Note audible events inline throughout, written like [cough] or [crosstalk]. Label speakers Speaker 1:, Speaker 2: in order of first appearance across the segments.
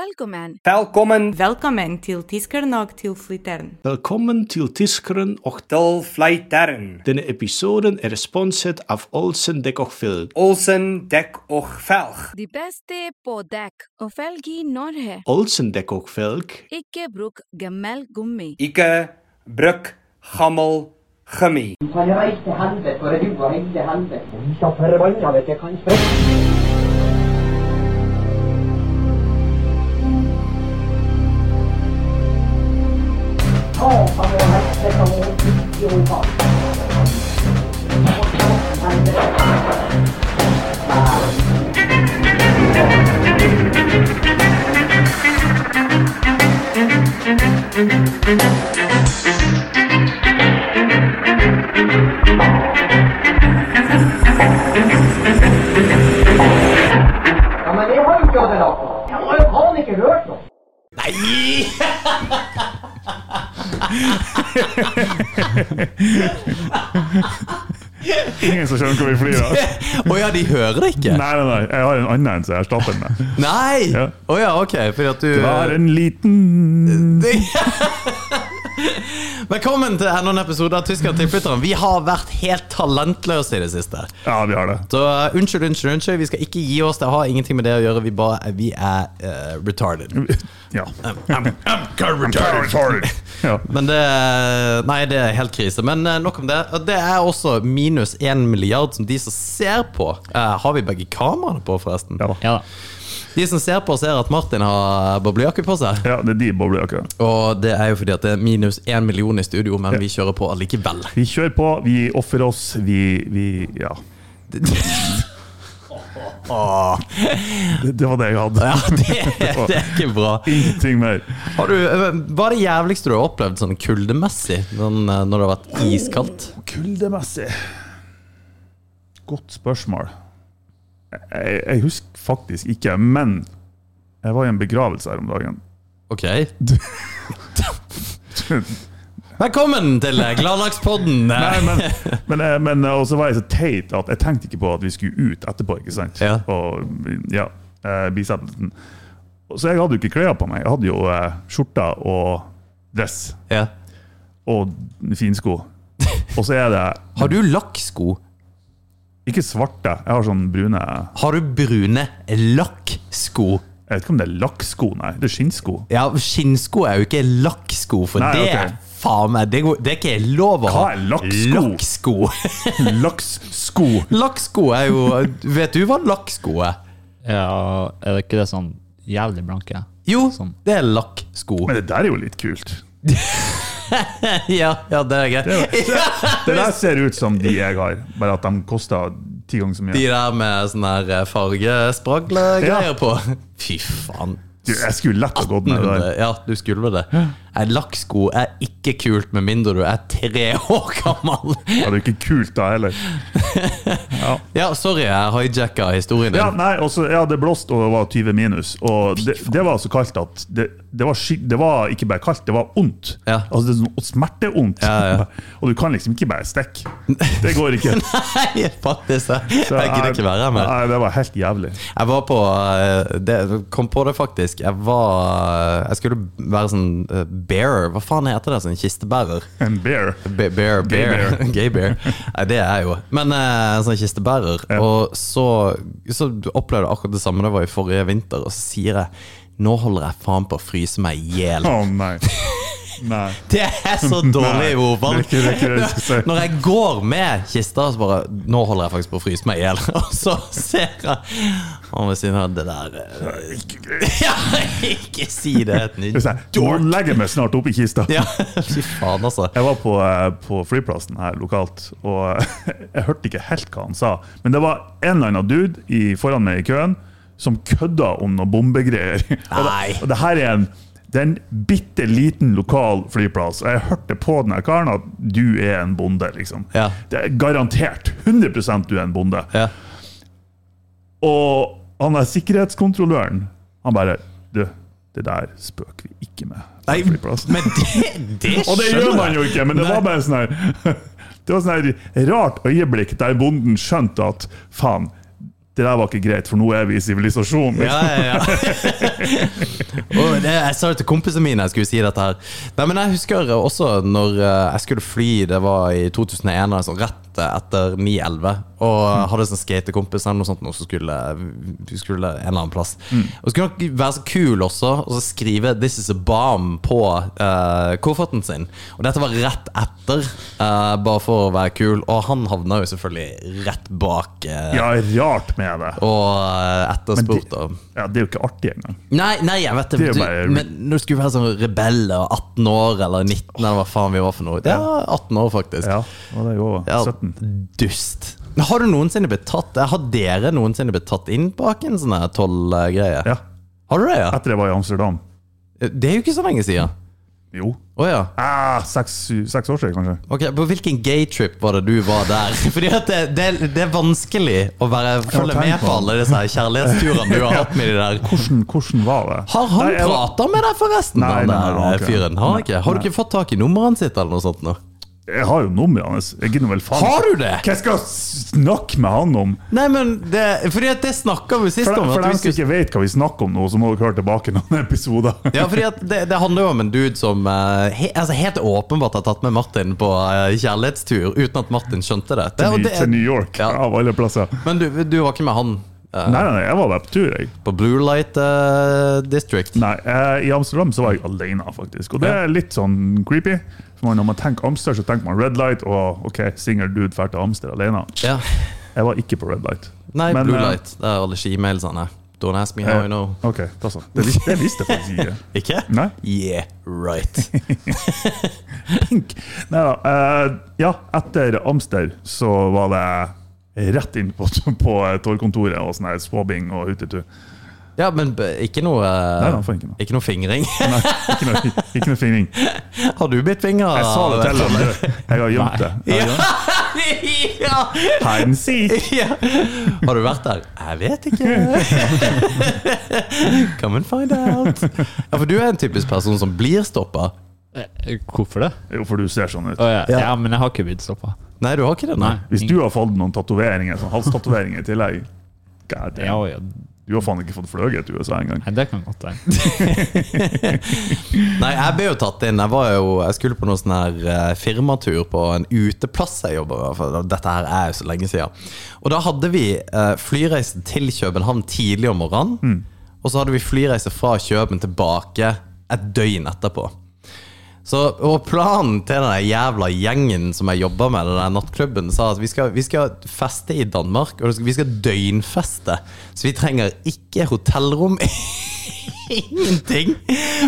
Speaker 1: Velkommen.
Speaker 2: Velkommen
Speaker 3: Velkommen til Tiskeren og til Flytteren.
Speaker 4: Velkommen til Tiskeren och
Speaker 2: til Flyteren.
Speaker 4: denna episoden är sponsrad av Olsen Däck och Felg.
Speaker 2: Olsen dek og velg.
Speaker 1: De beste på dekk og felg i Norge.
Speaker 4: Olsen Däck och Felg
Speaker 1: Ikke bruk gammel gummi.
Speaker 2: Ikke bruk gammel gummi.
Speaker 5: Han reiste helvete, for du var hele helvete. Vi skal forbanna deg til kanskje. Ja, men jeg har jo ikke hatt det nok. Jeg har jo faen ikke hørt noe.
Speaker 6: Ingen som skjønner hvor vi flyr av.
Speaker 7: [laughs] Å ja, de hører det ikke?
Speaker 6: Nei, nei, nei, jeg har en annen en som jeg erstatter den med.
Speaker 7: [laughs] Nei! Å ja.
Speaker 6: Ja.
Speaker 7: ok, fordi at du
Speaker 6: Det er en liten
Speaker 7: Velkommen til enda en episode av Tysker tilflytteren. Vi har vært helt talentløse i det siste.
Speaker 6: Ja, vi har det.
Speaker 7: Så uh, unnskyld, unnskyld, unnskyld. Vi skal ikke gi oss. Det har ingenting med det å gjøre. Vi, bare, vi er eh, retarded.
Speaker 6: Ja.
Speaker 7: I'm, I'm retarded.
Speaker 6: ja.
Speaker 7: Men det eh, Nei, det er helt krise. Men eh, nok om det. Og Det er også minus én milliard som de som ser på eh, Har vi begge kameraene på, forresten?
Speaker 6: Ja.
Speaker 8: Ja da.
Speaker 7: De som ser på, ser at Martin har boblejakke på seg.
Speaker 6: ja, det er de boblejakkene.
Speaker 7: Og det er jo fordi at det er minus én million i studio, men vi kjører på allikevel.
Speaker 6: [laughs] Vi kjører på, vi ofrer oss, vi, vi Ja. Det, det var det jeg hadde.
Speaker 7: Ja, det, det er ikke bra.
Speaker 6: [laughs] Ingenting mer.
Speaker 7: Har du, eh, hva er det jævligste du har opplevd sånn kuldemessig sånn, eh, når det har vært iskaldt?
Speaker 6: Kuldemessig Godt spørsmål. Jeg, jeg husker faktisk ikke, men jeg var i en begravelse her om dagen.
Speaker 7: Ok. Velkommen til eh, Gladlagspodden!
Speaker 6: Nei, men,
Speaker 7: [laughs]
Speaker 6: men, eh, men eh, og så var jeg så teit at jeg tenkte ikke på at vi skulle ut etterpå. ikke sant?
Speaker 7: Ja.
Speaker 6: Og, ja, eh, bisettelsen. Så jeg hadde jo ikke klær på meg. Jeg hadde jo eh, skjorta og dress
Speaker 7: Ja.
Speaker 6: og finsko. Og så er det
Speaker 7: Har du lakksko?
Speaker 6: ikke svarte, jeg har sånn brune
Speaker 7: Har du brune lakksko?
Speaker 6: Jeg vet ikke om det er lakksko, nei. Det er skinnsko.
Speaker 7: Ja, skinnsko er jo ikke lakksko, for
Speaker 6: Nei,
Speaker 7: det
Speaker 6: ok.
Speaker 7: er faen meg Det, går- det er ikke lov å ha
Speaker 6: Hva er lakksko?
Speaker 7: lakksko. [laughs]
Speaker 6: Lakssko!
Speaker 7: Lakksko er jo Vet du hva lakksko er?
Speaker 8: Ja, er det ikke det sånn jævlig blanke?
Speaker 7: Jo,
Speaker 8: Sånn.
Speaker 7: det er lakksko.
Speaker 6: Men det der er jo litt kult.
Speaker 7: [laughs] Ja, ja, det er greit.
Speaker 6: Det der ser ut som de jeg har, bare at de koster ti ganger så
Speaker 7: De
Speaker 6: mye.
Speaker 7: der med sånne her fargespraglegreier
Speaker 6: Ja.
Speaker 7: på. Fy faen.
Speaker 6: Du, jeg skulle lett ha gått ned der.
Speaker 7: Ja, du skulle vel det. Nei, Lakksko er ikke kult med mindre du er tre år gammel.
Speaker 6: Ja, [laughs] det er jo ikke kult da heller.
Speaker 7: Ja, sorry, jeg hijacka historien
Speaker 6: Ja,
Speaker 7: din.
Speaker 6: nei, også, ja det blåste og det var 20 minus. Og det, det var så kaldt at det, det, var sky, det var ikke bare kaldt, det var ondt.
Speaker 7: Ja.
Speaker 6: Altså det er sånn smerteondt. [laughs] Og du kan liksom ikke bare stikke. Det går ikke.
Speaker 7: [laughs] [laughs] Nei, faktisk. Jeg,
Speaker 6: Så
Speaker 7: jeg gidder ikke være her mer.
Speaker 6: Nei, det var helt jævlig.
Speaker 7: Jeg var på eh, det, Kom på det, faktisk. Jeg var Jeg skulle være sånn eh, bearer. Hva faen heter det? Sånn kistebærer?
Speaker 6: En bear.
Speaker 7: Be- Bear,
Speaker 6: Gay
Speaker 7: bear.
Speaker 6: bear.
Speaker 7: [laughs] Gay bear. Nei, det er jeg jo. Men eh, sånn kistebærer. Og så, så opplevde jeg akkurat det samme det var i forrige vinter, og så sier jeg nå holder jeg faen på å fryse meg i hjel.
Speaker 6: Å nei.
Speaker 7: [laughs]
Speaker 6: Nei.
Speaker 7: Det er
Speaker 6: [laughs]
Speaker 7: så dårlig i ordvalg!
Speaker 6: det er ikke- det er ikke det jeg skulle si.
Speaker 7: Når jeg går med kista, så bare Nå holder jeg faktisk på å fryse meg i hjel. [laughs] Og så ser jeg Han ved siden av det der eh, [laughs] Ja, ikke si det! Et
Speaker 6: [laughs] Det
Speaker 7: nytt
Speaker 6: er sånn, Nå legger jeg meg snart opp i kista.
Speaker 7: Ja, [laughs] fy faen, altså.
Speaker 6: Jeg var på, eh, på flyplassen her lokalt, og [laughs] jeg hørte ikke helt hva han sa. Men det var en eller annen dude i, foran meg i køen som kødda om noen bombegreier. [laughs] Og
Speaker 7: Nei.
Speaker 6: det, og det her er en, det er en bitte liten lokal flyplass, og jeg hørte på den her karen at du er en bonde, liksom.
Speaker 7: Ja.
Speaker 6: Det er garantert. 100 du er en bonde.
Speaker 7: Ja.
Speaker 6: Og han er sikkerhetskontrolløren. Han bare Du, det der spøker vi ikke med. på
Speaker 7: Nei,
Speaker 6: flyplassen.»
Speaker 7: men det, det
Speaker 6: Og det
Speaker 7: skjønner
Speaker 6: gjør
Speaker 7: jeg.
Speaker 6: man jo ikke, men det
Speaker 7: Nei.
Speaker 6: var bare sånn [laughs] her Det var sånn her rart øyeblikk der bonden skjønte at faen, Det der var ikke greit, for nå er vi i sivilisasjonen.
Speaker 7: Ja, ja, ja.
Speaker 6: [laughs]
Speaker 7: og det, jeg sa det til kompisene mine jeg skulle si dette her. Nei, men jeg husker også når eh, jeg skulle fly, det var i 2001, altså rett etter 9-11, og
Speaker 6: Mm.
Speaker 7: jeg hadde en sånn skatekompis eller noe sånt, og så skulle, vi skulle en eller annen plass.
Speaker 6: Mm.
Speaker 7: Og så skulle han være så kul også, og så skrive 'This is a bomb' på eh, kofferten sin. Og dette var rett etter, eh, bare for å være kul, og han havna jo selvfølgelig rett bak eh,
Speaker 6: Ja, rart med det.
Speaker 7: og eh, etterspurt.
Speaker 6: det,
Speaker 7: og-
Speaker 6: ja, det er jo ikke artig engang.
Speaker 7: Nei, nei, jeg vet det,
Speaker 6: Det er
Speaker 7: du,
Speaker 6: bare-
Speaker 7: men når du skulle være sånn rebell og 18 år eller 19 eller hva faen vi var for noe Ja, 18 år faktisk.
Speaker 6: Ja, og det er jo
Speaker 7: Ja,
Speaker 6: 17.
Speaker 7: Dust. Men Har du noensinne blitt tatt Har dere noensinne blitt tatt inn bak en sånn her tollgreie?
Speaker 6: Ja,
Speaker 7: Har du det, ja?
Speaker 6: etter jeg var i Amsterdam.
Speaker 7: Det er jo ikke så lenge siden.
Speaker 6: Jo.
Speaker 7: Å ja.
Speaker 6: Ah, seks, syv- seks år siden, kanskje.
Speaker 7: Ok, På hvilken gaytrip var det du var der? [laughs] Fordi at det, det, det er vanskelig å være, følge
Speaker 6: tenk
Speaker 7: med
Speaker 6: på
Speaker 7: på alle disse her kjærlighetsturene du har hatt med de der.
Speaker 6: Hvordan, hvordan var det?
Speaker 7: Har han
Speaker 6: Nei, jeg var-
Speaker 7: prata med deg, forresten?
Speaker 6: Nei,
Speaker 7: han
Speaker 6: nei, han har
Speaker 7: der
Speaker 6: ikke det.
Speaker 7: fyren? Har, han ikke? har du ikke fått tak i nummeret sitt, eller noe sånt? nå?
Speaker 6: Jeg har jo nummeret hans. Jeg gidder vel faen
Speaker 7: Har du det?
Speaker 6: Hva skal jeg snakke med han om?
Speaker 7: Nei, men det, fordi at det snakka vi sist
Speaker 6: For, de-
Speaker 7: om. At
Speaker 6: for dem
Speaker 7: vi
Speaker 6: som
Speaker 7: skulle,
Speaker 6: ikke vet hva vi snakker om nå, så må dere høre tilbake noen episoder.
Speaker 7: ja, fordi at det, det handler jo om en dude som eh, he, altså helt åpenbart har tatt med Martin på eh, kjærlighetstur uten at Martin skjønte det. det, og
Speaker 6: Til-
Speaker 7: det
Speaker 6: Til New York,
Speaker 7: Ja.
Speaker 6: av alle plasser.
Speaker 7: Men du, du var ikke med han eh,
Speaker 6: Nei, nei, nei, jeg var bare på tur, jeg.
Speaker 7: på Blue Light eh, District?
Speaker 6: Nei, eh, I Amsterdam så var jeg alene, faktisk. Og det er litt sånn creepy. For man- Når man tenker Amsterdam, så tenker man red light og ok, single dude drar til Amsterdam alene.
Speaker 7: Ja.
Speaker 6: Jeg var ikke på red light.
Speaker 7: Nei,
Speaker 6: Men,
Speaker 7: Blue
Speaker 6: eh,
Speaker 7: Light. Det er alle skimailsene. Don't ask me how I know.
Speaker 6: eh, Ok, da så. Det, vis- det visste jeg faktisk ikke.
Speaker 7: [laughs] Ikke?
Speaker 6: Nei.
Speaker 7: Yeah, right.
Speaker 6: Pink. Neida, eh, ja, etter Amster så var det rett inn på, på tollkontoret og sånn her swabbing og utetur.
Speaker 7: Ja, men b- ikke noe eh,
Speaker 6: Nei, da, faen ikke noe.
Speaker 7: Ikke noe fingring. [laughs]
Speaker 6: Nei, ikke noe, ikke noe fingring.
Speaker 7: har du bitt fingra?
Speaker 6: Jeg sa det til ham. [laughs] Jeg har gjemt det. Jeg har gjemt det.
Speaker 7: [laughs] ja.
Speaker 6: Hide and seek.
Speaker 7: Ja. Har du vært der? Jeg vet ikke. [laughs] Come and find out. Ja, For du er en typisk person som blir stoppa.
Speaker 8: Eh, Hvorfor det?
Speaker 6: Jo, for du ser sånn ut.
Speaker 8: Å, ja. ja, men jeg har ikke blitt stoppa.
Speaker 7: Nei, du har ikke det? Nei.
Speaker 6: Hvis du har fått noen tatoveringer, sånn halstatoveringer i tillegg God
Speaker 8: Ja,
Speaker 6: damn.
Speaker 8: ja.
Speaker 6: Du har faen ikke fått fløyet til USA engang.
Speaker 8: Nei, det kan godt være.
Speaker 7: Nei, jeg ble jo tatt inn. Jeg, var jo, jeg skulle på noen sånn her eh, firmatur på en uteplass jeg jobber på. for Dette her er jo så lenge siden. Og da hadde vi eh, flyreise til København tidlig om morgenen.
Speaker 6: Mm.
Speaker 7: Og så hadde vi flyreise fra Køben tilbake et døgn etterpå. Så, og planen til den der jævla gjengen som jeg jobba med, den der nattklubben, sa at vi skal, vi skal feste i Danmark, og det skal- vi skal døgnfeste. Så vi trenger ikke hotellrom. [laughs] Ingenting!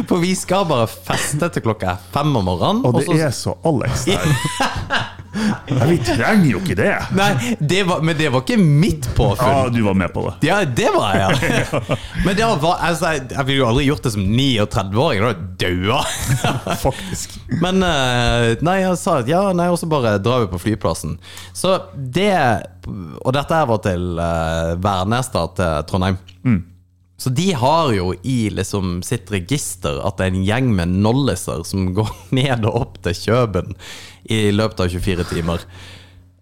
Speaker 7: For vi skal bare feste til klokka er fem om morgenen.
Speaker 6: Og
Speaker 7: og
Speaker 6: det
Speaker 7: så-
Speaker 6: er så Alex
Speaker 7: [laughs]
Speaker 6: der. Nei, vi trenger jo ikke det!
Speaker 7: Nei, det var, men det var ikke mitt påfunn.
Speaker 6: Ja, du var med på det.
Speaker 7: Ja, det var
Speaker 6: [laughs]
Speaker 7: jeg, ja. Men det var, altså, jeg, jeg ville jo aldri gjort det som 39-åring. Da hadde jeg daua.
Speaker 6: Faktisk.
Speaker 7: Men eh, nei, jeg sa at ja, nei, og så bare drar vi på flyplassen. Så det Og dette her var til eh, Værnes, da, til Trondheim. Så de har jo i liksom sitt register at det er en gjeng med nolliser som går [laughs] ned og opp til Kjøben i løpet av 24 timer.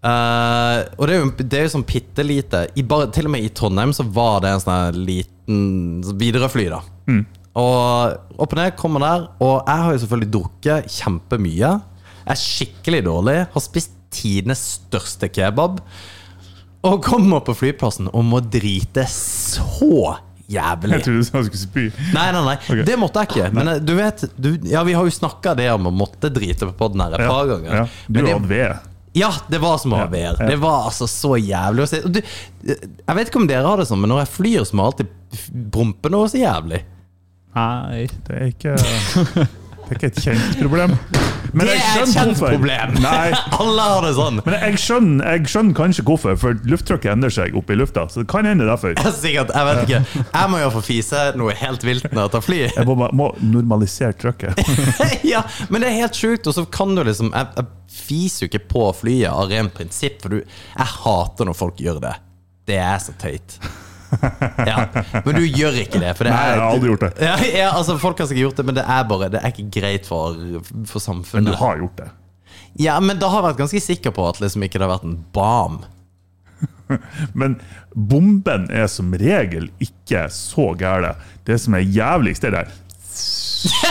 Speaker 7: Eh, og det er jo, det er jo sånn bitte lite I bare, Til og med i Trondheim så var det en sånn her liten sånn Widerøe-fly, da.
Speaker 6: Mm.
Speaker 7: Og opp og ned kommer der, og jeg har jo selvfølgelig drukket kjempemye. Jeg er skikkelig dårlig, har spist tidenes største kebab. Og kommer på flyplassen og må drite så jævlig.
Speaker 6: Jeg trodde du sa jeg skulle spy.
Speaker 7: Nei, nei, nei.
Speaker 6: Ok.
Speaker 7: Det måtte jeg ikke. Men eh, du vet du, Ja, vi har jo snakka det om å måtte drite på podden her et par ganger.
Speaker 6: Ja. Du
Speaker 7: Men det-
Speaker 6: hadde ved.
Speaker 7: ja, det var som AVR.
Speaker 6: ja.
Speaker 7: Det var altså så jævlig å se. Og Du, jeg vet ikke om dere har det sånn, men når jeg flyr, så må jeg alltid brumpe noe så jævlig.
Speaker 8: [laughs] Nei.
Speaker 6: Det er
Speaker 7: [laughs]
Speaker 6: ikke, det er ikke et kjent problem. Men
Speaker 7: Det er
Speaker 6: jeg
Speaker 7: et
Speaker 6: skjønner
Speaker 7: kjent
Speaker 6: hvorfor.
Speaker 7: problem!
Speaker 6: Nei.
Speaker 7: [laughs] Alle har det sånn.
Speaker 6: Men jeg skjønner, jeg skjønner kanskje hvorfor, for lufttrykket endrer seg oppe i lufta. Så det kan hende derfor.
Speaker 7: Jeg er Sikkert, jeg vet ikke. Jeg må jo få fise noe helt vilt når jeg tar fly.
Speaker 6: Jeg må, bare- må normalisere trykket.
Speaker 7: [laughs] ja, men det er helt sjukt. Og så kan du liksom Jeg, jeg fiser jo ikke på flyet av rent prinsipp, for du, jeg hater når folk gjør det. Det er så tøyt.
Speaker 6: [laughs]
Speaker 7: Ja, Men du gjør ikke det. For det
Speaker 6: Nei, jeg
Speaker 7: er,
Speaker 6: har aldri gjort det.
Speaker 7: Ja, ja, altså Folk har sikkert gjort det, men det er bare Det er ikke greit for, for
Speaker 6: Men du
Speaker 7: samfunnet.
Speaker 6: har gjort det.
Speaker 7: Ja, men da har jeg vært ganske sikker på at liksom ikke det har vært en bam.
Speaker 6: Men bomben er som regel ikke så gære. Det som er jævligst, er det her.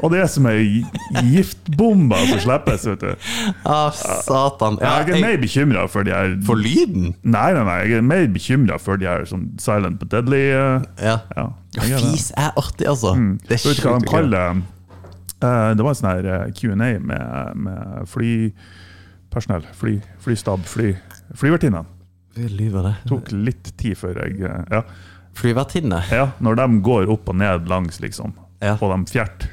Speaker 6: Og det er som ei giftbombe som slippes, vet du.
Speaker 7: Ah, satan. Ja,
Speaker 6: Jeg er mer
Speaker 7: jeg,
Speaker 6: bekymra for de her
Speaker 7: for lyden?
Speaker 6: Nei, nei, nei, jeg er mer bekymra for de her sånn silent but deadly. eh,
Speaker 7: Ja.
Speaker 6: ja,
Speaker 7: Ja,
Speaker 6: jeg er det. Mm.
Speaker 7: Fis er artig, altså. Det er
Speaker 6: Vet du hva de
Speaker 7: sjukt gøy.
Speaker 6: kaller det? Eh, Det var en sånn her eh, Q&A med, med flypersonell, fly, flystab, fly, flyvertinnene.
Speaker 7: Lyver det?
Speaker 6: Tok litt tid før jeg eh, ja.
Speaker 7: Flyvertinne?
Speaker 6: ja, når de går opp og ned langs, liksom,
Speaker 7: Ja.
Speaker 6: og de fjert,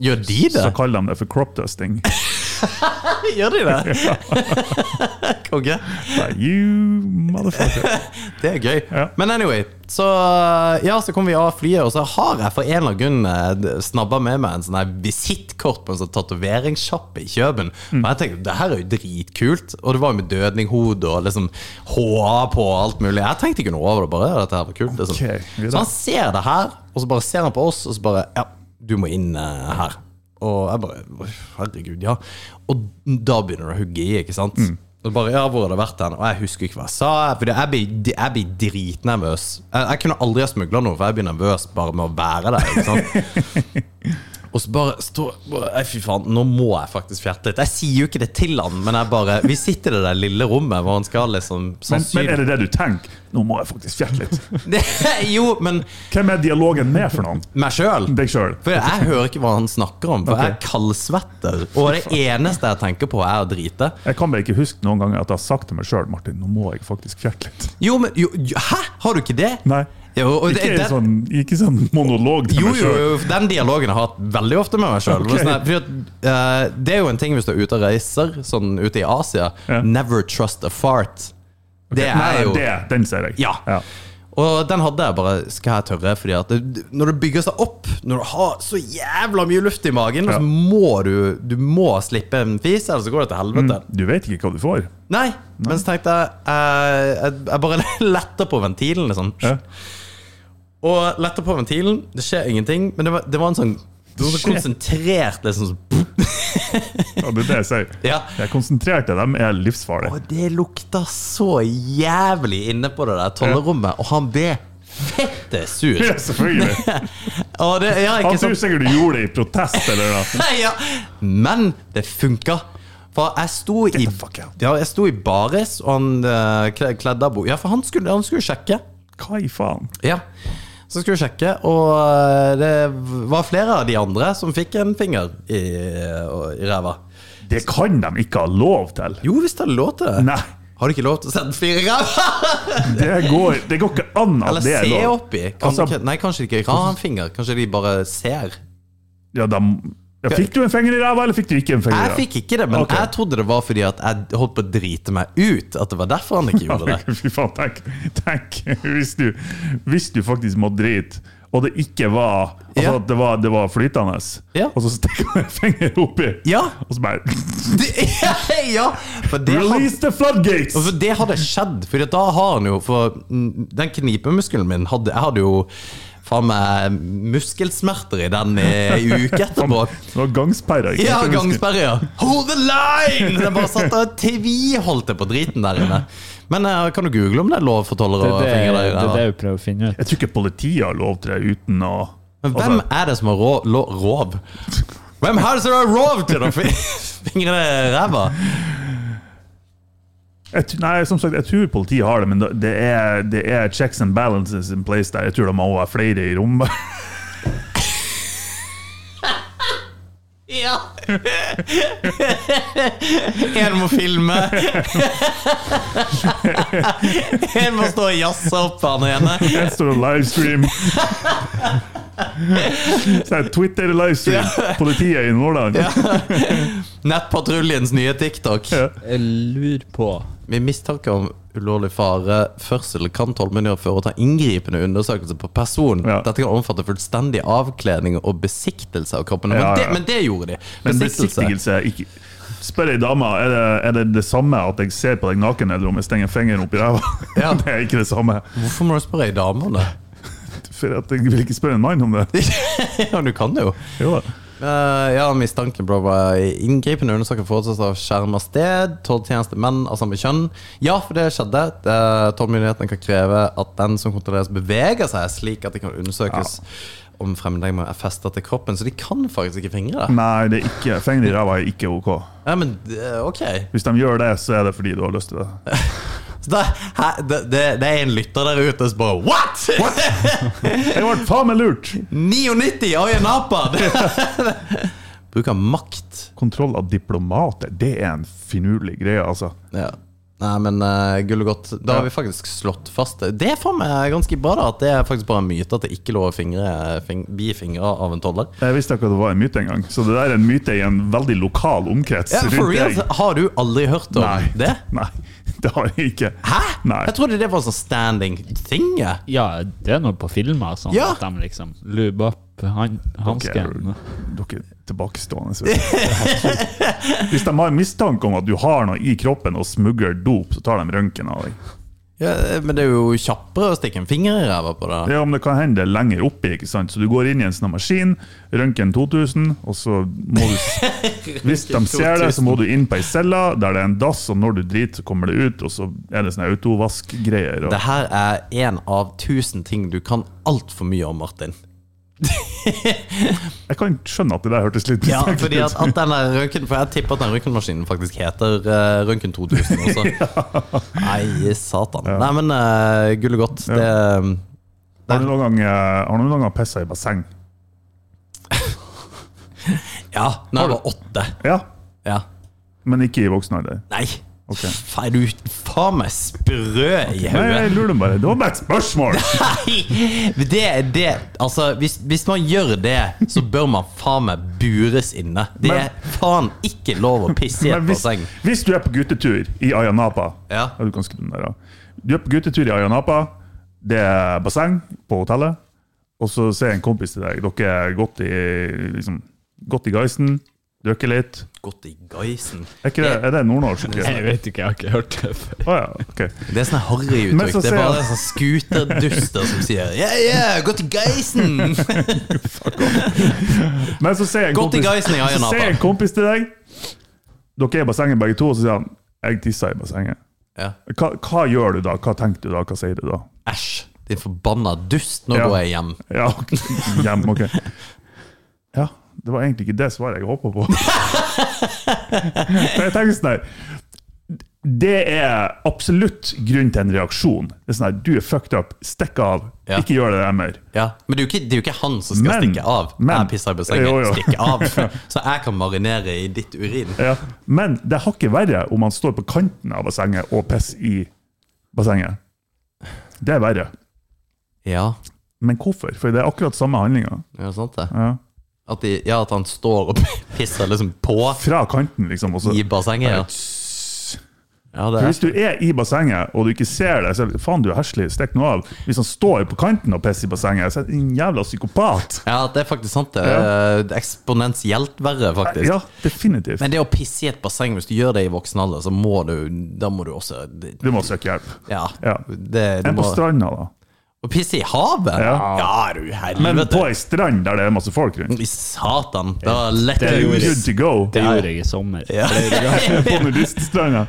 Speaker 7: Gjør de det?
Speaker 6: så kaller de det for crop dusting.
Speaker 7: [laughs]
Speaker 6: [laughs]
Speaker 7: Gjør de det? [laughs] Konge.
Speaker 6: Nei, you motherfucker.
Speaker 7: [laughs] Det er gøy.
Speaker 6: Ja.
Speaker 7: Men anyway, så eh, ja, så kom vi av flyet, og så har jeg for en eller annen grunn eh, d- snabba med meg en sånn her visittkort på en sånn tatoveringssjappe i Kjøben.
Speaker 6: Mm.
Speaker 7: Og jeg tenkte det her er jo dritkult, og det var jo med dødninghode og liksom HA på og alt mulig. Jeg tenkte ikke noe over det, bare dette her var kult. Liksom.
Speaker 6: Ok, videre.
Speaker 7: så han ser det her, og så bare ser han på oss, og så bare Ja, du må inn eh, her. Og jeg bare Herregud, ja. Og da begynner det å hugge i, ikke sant?
Speaker 6: Mm.
Speaker 7: Og bare, ja, hvor har det vært hen? Og jeg husker ikke hva jeg sa. For jeg blir, jeg blir dritnervøs. Jeg, jeg kunne aldri ha smugla noe, for jeg blir nervøs bare med å være der. ikke sant?
Speaker 6: [laughs]
Speaker 7: Og så bare står bare, Nei, fy faen, nå må jeg faktisk fjerte litt. Jeg sier jo ikke det til han, men jeg bare Vi sitter i det der lille rommet hvor han skal liksom
Speaker 6: Men, men er
Speaker 7: sannsynlig
Speaker 6: det det du tenker? Nå må jeg faktisk fjerte litt.
Speaker 7: [laughs] Jo, men
Speaker 6: Hvem er dialogen med for noen?
Speaker 7: meg sjøl.
Speaker 6: Deg sjøl.
Speaker 7: For jeg hører ikke hva han snakker om, for jeg er
Speaker 6: Ok.
Speaker 7: kaldsvetter. Og det eneste jeg tenker på, er å drite.
Speaker 6: Jeg kan bare ikke huske noen ganger at jeg har sagt til meg sjøl Martin, nå må jeg faktisk fjerte litt.
Speaker 7: Jo, men jo, jo, Hæ? Har du ikke det?
Speaker 6: Nei.
Speaker 7: Jo, og det,
Speaker 6: Ikke
Speaker 7: den,
Speaker 6: en sånn, ikke sånn monolog til
Speaker 7: jo,
Speaker 6: meg
Speaker 7: jo,
Speaker 6: sjøl.
Speaker 7: jo, den dialogen har jeg hatt veldig ofte med meg sånn sjøl.
Speaker 6: Ok.
Speaker 7: eh, det er jo en ting hvis du er ute og reiser, sånn ute i Asia.
Speaker 6: Ja.
Speaker 7: Never trust a fart. Det er jo
Speaker 6: Det, den ser jeg.
Speaker 7: Ja. Og den hadde jeg bare Skal jeg tørre? Fordi at det, når det bygger seg opp, når du har så jævla mye luft i magen,
Speaker 6: Ja.
Speaker 7: så må du Du må slippe en fis, ellers så går det til helvete.
Speaker 6: Du vet ikke hva du får.
Speaker 7: Nei, men så tenkte jeg eh, Jeg, jeg bare [laughs] letter på ventilen, liksom.
Speaker 6: Ja.
Speaker 7: Og letter på ventilen, det skjer ingenting, men det var, det var en sånn det var så
Speaker 6: Skjer.
Speaker 7: konsentrert liksom sånn,
Speaker 6: Ja, det er det jeg sier.
Speaker 7: [laughs] Ja.
Speaker 6: De konsentrerte, de er livsfarlige.
Speaker 7: Og det lukta så jævlig inne på det der tollerommet, og han ble fette sur.
Speaker 6: [laughs] Ja,
Speaker 7: [laughs]
Speaker 6: selvfølgelig.
Speaker 7: Og det, ja, ikke sånn-
Speaker 6: Han tror
Speaker 7: sant?
Speaker 6: sikkert du gjorde det i protest, eller noe.
Speaker 7: Nei, [laughs] ja. Men det funka. For jeg sto i,
Speaker 6: the fuck out.
Speaker 7: ja, jeg sto i baris, og han eh, kle- kledde av bordet. Ja, for han skulle, han skulle sjekke.
Speaker 6: Hva i faen?
Speaker 7: Ja. Så skulle vi sjekke, og eh, det var flere av de andre som fikk en finger i, i ræva.
Speaker 6: Det kan de ikke ha lov til.
Speaker 7: Jo, hvis det er lov til det.
Speaker 6: Nei,
Speaker 7: Har du ikke lov til å sende fire i ræva?
Speaker 6: det går, det går ikke an at
Speaker 7: Eller
Speaker 6: det
Speaker 7: se
Speaker 6: er lov.
Speaker 7: oppi? Kan
Speaker 6: Altså-
Speaker 7: du ikke, nei, kanskje de ikke har en finger. Kanskje de bare ser.
Speaker 6: Ja, de, ja, fikk du en finger i ræva, eller fikk du ikke en finger i
Speaker 7: Jeg
Speaker 6: ræva?
Speaker 7: fikk ikke det, men
Speaker 6: Ok.
Speaker 7: jeg trodde det var fordi at jeg holdt på å drite meg ut. At det var derfor han ikke
Speaker 6: [laughs]
Speaker 7: gjorde det.
Speaker 6: Fy faen, tenk, tenk hvis, du, hvis du faktisk må drite, og det ikke var Altså
Speaker 7: Ja.
Speaker 6: at det var, det var flytende,
Speaker 7: Ja.
Speaker 6: og så stikker man en finger oppi,
Speaker 7: Ja.
Speaker 6: og så bare
Speaker 7: Det- [laughs] ja, for det hadde-
Speaker 6: Release the floodgates!
Speaker 7: Og for det hadde skjedd, for da har han jo For mm, den knipemuskelen min hadde, Jeg hadde jo faen meg muskelsmerter i den i ei
Speaker 8: [laughs]
Speaker 7: uke etterpå.
Speaker 6: Det var gangsperre. ikke
Speaker 7: Ja,
Speaker 6: sant?
Speaker 7: gangsperre, ja. Hold the line! Jeg bare satt og tviholdt det på driten der inne. Men eh, kan du google om det er lov for tollere
Speaker 8: Det
Speaker 7: å
Speaker 8: er det,
Speaker 7: fingre deg
Speaker 8: det,
Speaker 7: i
Speaker 8: er det
Speaker 7: ræva?
Speaker 8: vi prøver å finne ut.
Speaker 6: Jeg tror ikke politiet har lov til det uten å Altså,
Speaker 7: Men hvem
Speaker 8: altså-
Speaker 7: er det som har rå, lo, rov? Hvem er det som har rov til å fi- [laughs] fingre deg i ræva?
Speaker 6: jeg, tr- Nei, som sagt, jeg tror politiet har det, men det- det er, det er checks and balances in place der. Jeg tror det må være flere i rommet.
Speaker 7: Ja! [laughs] En må filme. En må stå og jazze opp for den ene.
Speaker 6: Jeg står og livestream. Så jeg Twitter-livestream. Politiet i Nordland.
Speaker 7: Nettpatruljens nye TikTok.
Speaker 8: Jeg lurer på
Speaker 7: Med mistanke om ulovlig fare, førsel kan tollmyndighetene føre og ta inngripende undersøkelse på person.
Speaker 6: Ja.
Speaker 7: Dette kan omfatte fullstendig avkledning og besiktelse av kroppen. Men,
Speaker 6: Ja, ja, ja.
Speaker 7: Det, men det gjorde de.
Speaker 6: Men
Speaker 7: Besiktelse.
Speaker 6: besiktigelse er ikke Spør ei dame er det, er det det samme at jeg ser på deg naken, eller om jeg stenger fingeren opp i ræva.
Speaker 7: Ja.
Speaker 6: [laughs] Det er ikke det samme.
Speaker 7: Hvorfor må du spørre ei
Speaker 6: [laughs]
Speaker 7: dame om det?
Speaker 6: For at jeg vil ikke spørre en mann om det.
Speaker 7: Ja, du kan det jo.
Speaker 6: Jo da.
Speaker 7: Eh, ja, mistanken ble bare inngripende undersøker forholdsvis av skjermet sted, tolltjenestemenn av samme kjønn. Ja, for det skjedde. Eh, Tollmyndighetene kan kreve at den som kontrolleres, beveger seg slik at det kan undersøkes om fremlegget er festet til kroppen. Så de kan faktisk ikke fingre det.
Speaker 6: Nei, det er ikke, fingre i ræva er ikke ok.
Speaker 7: Ja, men eh, ok.
Speaker 6: Hvis de gjør det, så er det fordi du har lyst til det.
Speaker 7: Så da, hæ, det, det, det er en lytter der ute som bare What?! [laughs]
Speaker 6: Jeg ble faen meg lurt!
Speaker 7: 99 [laughs] øyenapper! Bruk av makt.
Speaker 6: Kontroll av diplomater, det er en finurlig greie, altså.
Speaker 7: Ja. Nei, men uh, gull og godt. Da har vi faktisk slått fast det. Det er for meg ganske bra, da. At det er faktisk bare en myte at det ikke er lov å fingre fing, bi fingre av en toller.
Speaker 6: Jeg visste ikke at det var en myte engang, så det der er en myte i en veldig lokal omkrets.
Speaker 7: Ja, for
Speaker 6: rundt
Speaker 7: real,
Speaker 6: deg.
Speaker 7: har du aldri hørt om
Speaker 6: Nei.
Speaker 7: det?
Speaker 6: Nei, [laughs] det har jeg ikke.
Speaker 7: Hæ?
Speaker 6: Nei.
Speaker 7: Jeg trodde det var sånn standing thing. jeg.
Speaker 8: Ja, det er noe på filmer sånn
Speaker 7: Ja.
Speaker 8: at de liksom lube opp han, hansken.
Speaker 6: Dere er tilbakestående. vet du. Hvis de har mistanke om at du har noe i kroppen og smugler dop, så tar de røntgen av deg.
Speaker 7: Ja, men det er jo kjappere å stikke en finger i ræva på det.
Speaker 6: Ja, men det kan hende det er lenger oppi, ikke sant? så du går inn i en sånn maskin, røntgen 2000, og så må
Speaker 7: [laughs]
Speaker 6: du Hvis de ser det, så må du inn på ei celle der det er en dass, og når du driter, så kommer det ut, og så er det sånne autovaskgreier. og-
Speaker 7: Det her er én av tusen ting du kan altfor mye om, Martin.
Speaker 6: Jeg kan skjønne at det der hørtes litt [laughs]
Speaker 7: Ja,
Speaker 6: mistenkelig
Speaker 7: fordi at,
Speaker 6: ut.
Speaker 7: at den der røntgen For jeg tipper at den røntgenmaskinen faktisk heter uh, Røntgen 2000
Speaker 6: [laughs]
Speaker 7: også. Nei, satan. Nei, men uh, gull og godt. Det, um,
Speaker 6: Har du noen gang, eh, har du noen gang pissa i basseng?
Speaker 7: ja, når jeg var åtte.
Speaker 6: Ja,
Speaker 7: Ja.
Speaker 6: men ikke i voksen alder.
Speaker 7: Nei. Fa- Er du faen meg sprø i
Speaker 6: Nei,
Speaker 7: hodet?
Speaker 6: jeg lurer bare. Det var bare et
Speaker 7: [laughs]
Speaker 6: spørsmål!
Speaker 7: Nei, det, det, altså, hvis, hvis man gjør det, så bør man faen meg bures inne. Det
Speaker 6: Men-
Speaker 7: er faen ikke lov å pisse i
Speaker 6: Men
Speaker 7: et
Speaker 6: hvis,
Speaker 7: basseng.
Speaker 6: hvis du er på guttetur i Ayanapa
Speaker 7: Ja.
Speaker 6: er Du kan skru den der, ja. Du er på guttetur i Ayanapa, det er basseng på hotellet, og så ser en kompis til deg Dere er godt i, liksom, godt i geisen, drikker litt.
Speaker 7: Godt i geisen.
Speaker 6: Er, ikke det, er det
Speaker 7: [laughs]
Speaker 6: nordnorsk?
Speaker 8: Jeg vet ikke, jeg har ikke hørt det før.
Speaker 6: Å ja, ok.
Speaker 7: Det er sånne harry
Speaker 6: Men
Speaker 7: uttrykk.
Speaker 6: så
Speaker 7: Det er
Speaker 6: ser
Speaker 7: bare
Speaker 6: jeg-
Speaker 7: sånne skuterduster som sier Yeah, yeah, gå til
Speaker 6: [laughs]
Speaker 7: Geisen!
Speaker 6: Men så sier en
Speaker 7: Godt i
Speaker 6: kompis,
Speaker 7: geisen i Ayanapa.
Speaker 6: så sier en kompis til deg Dere er i bassenget begge to, og så sier han 'jeg tissa i bassenget'.
Speaker 7: Ja.
Speaker 6: Hva, hva gjør du da? Hva tenker du da? Hva sier du da?
Speaker 7: Æsj, din forbanna dust. Nå
Speaker 6: Ja.
Speaker 7: går jeg hjem.
Speaker 6: Ja, [laughs] hjem, ok. Ja, det var egentlig ikke det svaret jeg håpa på. [laughs] For jeg tenker sånn her Det er absolutt grunn til en reaksjon. Det er sånn her, Du er fucked up, stikk av,
Speaker 7: Ja.
Speaker 6: ikke gjør det der mer.
Speaker 7: Ja. Men det er, jo ikke, det er jo ikke han som skal
Speaker 6: Men-
Speaker 7: stikke av. jeg
Speaker 6: men-
Speaker 7: pisser i
Speaker 6: Jo, jo.
Speaker 7: bassenget, stikke
Speaker 6: [laughs]
Speaker 7: av. Så jeg kan marinere i ditt urin.
Speaker 6: Ja. Men det er hakket verre om man står på kanten av bassenget og pisser i bassenget. Det er verre.
Speaker 7: Ja,
Speaker 6: Men hvorfor? For det er akkurat samme handlinga.
Speaker 7: det er jo sant det.
Speaker 6: Ja.
Speaker 7: At, de, ja, at han står og [laughs] pisser liksom på
Speaker 6: Fra kanten, liksom. Og så.
Speaker 7: i bassenget. Ja. Ja, det
Speaker 6: For
Speaker 7: er.
Speaker 6: Hvis du er i bassenget og du ikke ser det, så er det, faen du er heslig, stikk nå av. Hvis han står på kanten og pisser i bassenget, så er det en jævla psykopat.
Speaker 7: ja, det er faktisk sant. det
Speaker 6: Ja.
Speaker 7: Det er Eksponentielt verre, faktisk.
Speaker 6: Ja, definitivt.
Speaker 7: Men det å pisse i et basseng, hvis du gjør det i voksen alder, så må du, da må du også det-
Speaker 6: Du må søke hjelp.
Speaker 7: Ja.
Speaker 6: Ja.
Speaker 7: Det, du
Speaker 6: En på
Speaker 7: må,
Speaker 6: stranda, da.
Speaker 7: å pisse i havet? Ja,
Speaker 6: Ja.
Speaker 7: du
Speaker 6: Men på
Speaker 7: helvete!
Speaker 6: ei strand der det er masse folk rundt.
Speaker 7: I satan! Da letter
Speaker 8: Det er
Speaker 7: det
Speaker 8: jo
Speaker 6: You're
Speaker 7: ut.
Speaker 6: Good to go.
Speaker 8: Det gjorde jeg i sommer. Ja,
Speaker 6: På nudiststranda.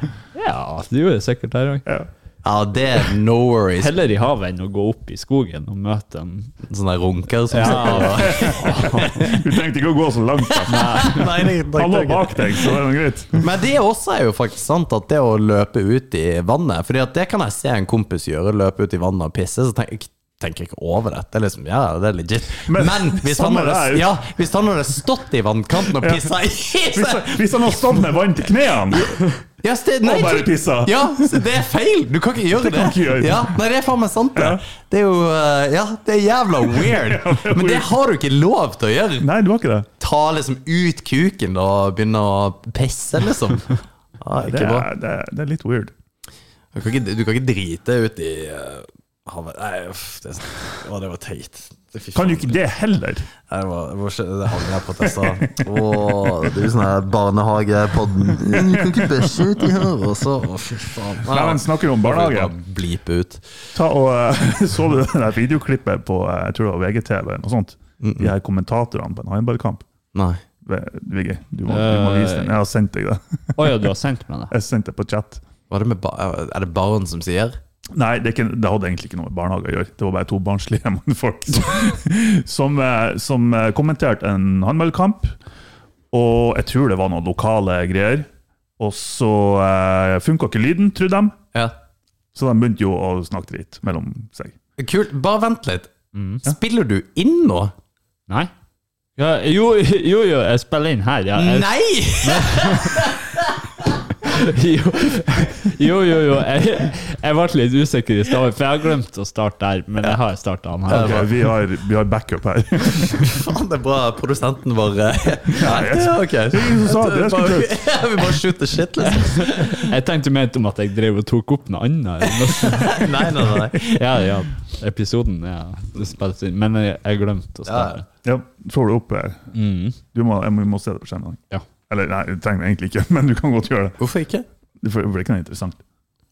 Speaker 8: det gjorde jeg sikkert der òg.
Speaker 7: Ja, det er no worries.
Speaker 8: Heller i havet enn å gå opp i skogen og møte en
Speaker 7: Sånne runker som
Speaker 8: Ja.
Speaker 7: sitter
Speaker 6: Du trengte ikke å gå så langt. da.
Speaker 7: og [laughs] Nei, det- det-
Speaker 6: Han lå
Speaker 7: det-
Speaker 6: bak deg, så det er noe greit.
Speaker 7: Men det også er jo faktisk sant, at det å løpe ut i vannet Fordi at det kan jeg se en kompis gjøre, løpe ut i vannet og pisse. Så tenker jeg tenker ikke over det. Det er liksom, ja, det er legit.
Speaker 6: Men- sånn
Speaker 7: Men, hvis, han
Speaker 6: samme
Speaker 7: hadde,
Speaker 6: der.
Speaker 7: ja, hvis han hadde stått i vannkanten og pissa i
Speaker 6: Hvis
Speaker 7: seg
Speaker 6: han, hvis han har stått med vann til knærne
Speaker 7: Ja, ste- nei,
Speaker 6: og bare
Speaker 7: for-
Speaker 6: pissa
Speaker 7: Ja, så det er feil! Du kan ikke gjøre det.
Speaker 6: Det kan ikke gjøre.
Speaker 7: Ja, nei, det er faen meg sant, det. Det er jo eh, Ja, det er jævla
Speaker 6: [laughs]
Speaker 7: weird.
Speaker 6: Ja, det er
Speaker 7: Men det
Speaker 6: weird.
Speaker 7: har du ikke lov til å gjøre.
Speaker 6: Nei, du har ikke det.
Speaker 7: Ta liksom ut kuken og begynne å pisse, liksom. Ja,
Speaker 6: Det
Speaker 7: ikke bra.
Speaker 6: er, det er, det er litt weird.
Speaker 7: Du kan ikke, du kan ikke drite ut i eh, havet. Nei, uff, det, er- sånn- å, det var teit. Det, fy
Speaker 6: Kan du
Speaker 7: faen.
Speaker 6: ikke det heller?
Speaker 7: Nei, Det, var, det, var, ikke- det hang jeg på at jeg sa. Å, det er jo sånn her barnehagepodden. Du kan ikke pisse ut i her, og så Å, fy faen.
Speaker 6: Nei, men snakker vi om barnehage?
Speaker 7: Bare Blipe ut.
Speaker 6: Ta og eh, [laughs] Så du det der videoklippet på eh, jeg tror det var VGTV eller noe sånt? De her kommentatorene på en håndballkamp.
Speaker 7: Nei.
Speaker 6: Vigge, du må, du må vise den. Jeg har sendt deg det. [laughs]
Speaker 8: Å ja, du har sendt meg det?
Speaker 6: Jeg sendte det på chat.
Speaker 7: Var det med ba er det barn som sier?
Speaker 6: Nei, det, er ikke, det hadde egentlig ikke noe med barnehage å gjøre. Det var bare to barnslige [laughs] mannfolk som- som, eh, som eh, kommenterte en håndballkamp. Og jeg tror det var noen lokale greier. Og så eh, funka ikke lyden, trodde de.
Speaker 7: Ja.
Speaker 6: Så de begynte jo å snakke dritt mellom seg.
Speaker 7: Kult. Bare vent litt.
Speaker 6: Mm.
Speaker 7: Spiller du inn nå?
Speaker 8: Nei? Ja, jo, jo, jo, jeg spiller inn her. Ja. Jeg,
Speaker 7: Nei!
Speaker 8: jo, jo, jo. jo. Jeg, jeg ble litt usikker i stad, for jeg har glemt å starte der. Men jeg har starta den her.
Speaker 6: Ok, vi, har, vi har backup her. [laughs]
Speaker 7: Faen, det er bra produsenten vår Nei,
Speaker 6: jeg-
Speaker 7: ja, ok.
Speaker 6: ingen som sa det, jeg skulle ta
Speaker 7: [laughs] Ja, Vi bare shoot the shit, liksom.
Speaker 8: Jeg tenkte mer om at jeg drev og tok opp noe annet. eller noe.
Speaker 7: [laughs] Nei, nei, nei.
Speaker 8: Ja, ja. Episoden ja, det spilles inn. Men jeg, jeg glemte å starte.
Speaker 6: Ja, får du opp her. Du må, jeg må, vi må se det på skjermen.
Speaker 8: Ja.
Speaker 6: Eller nei, du trenger det egentlig ikke, [laughs] men du kan godt gjøre det.
Speaker 7: Hvorfor ikke?
Speaker 6: Det får- det blir ikke noe interessant.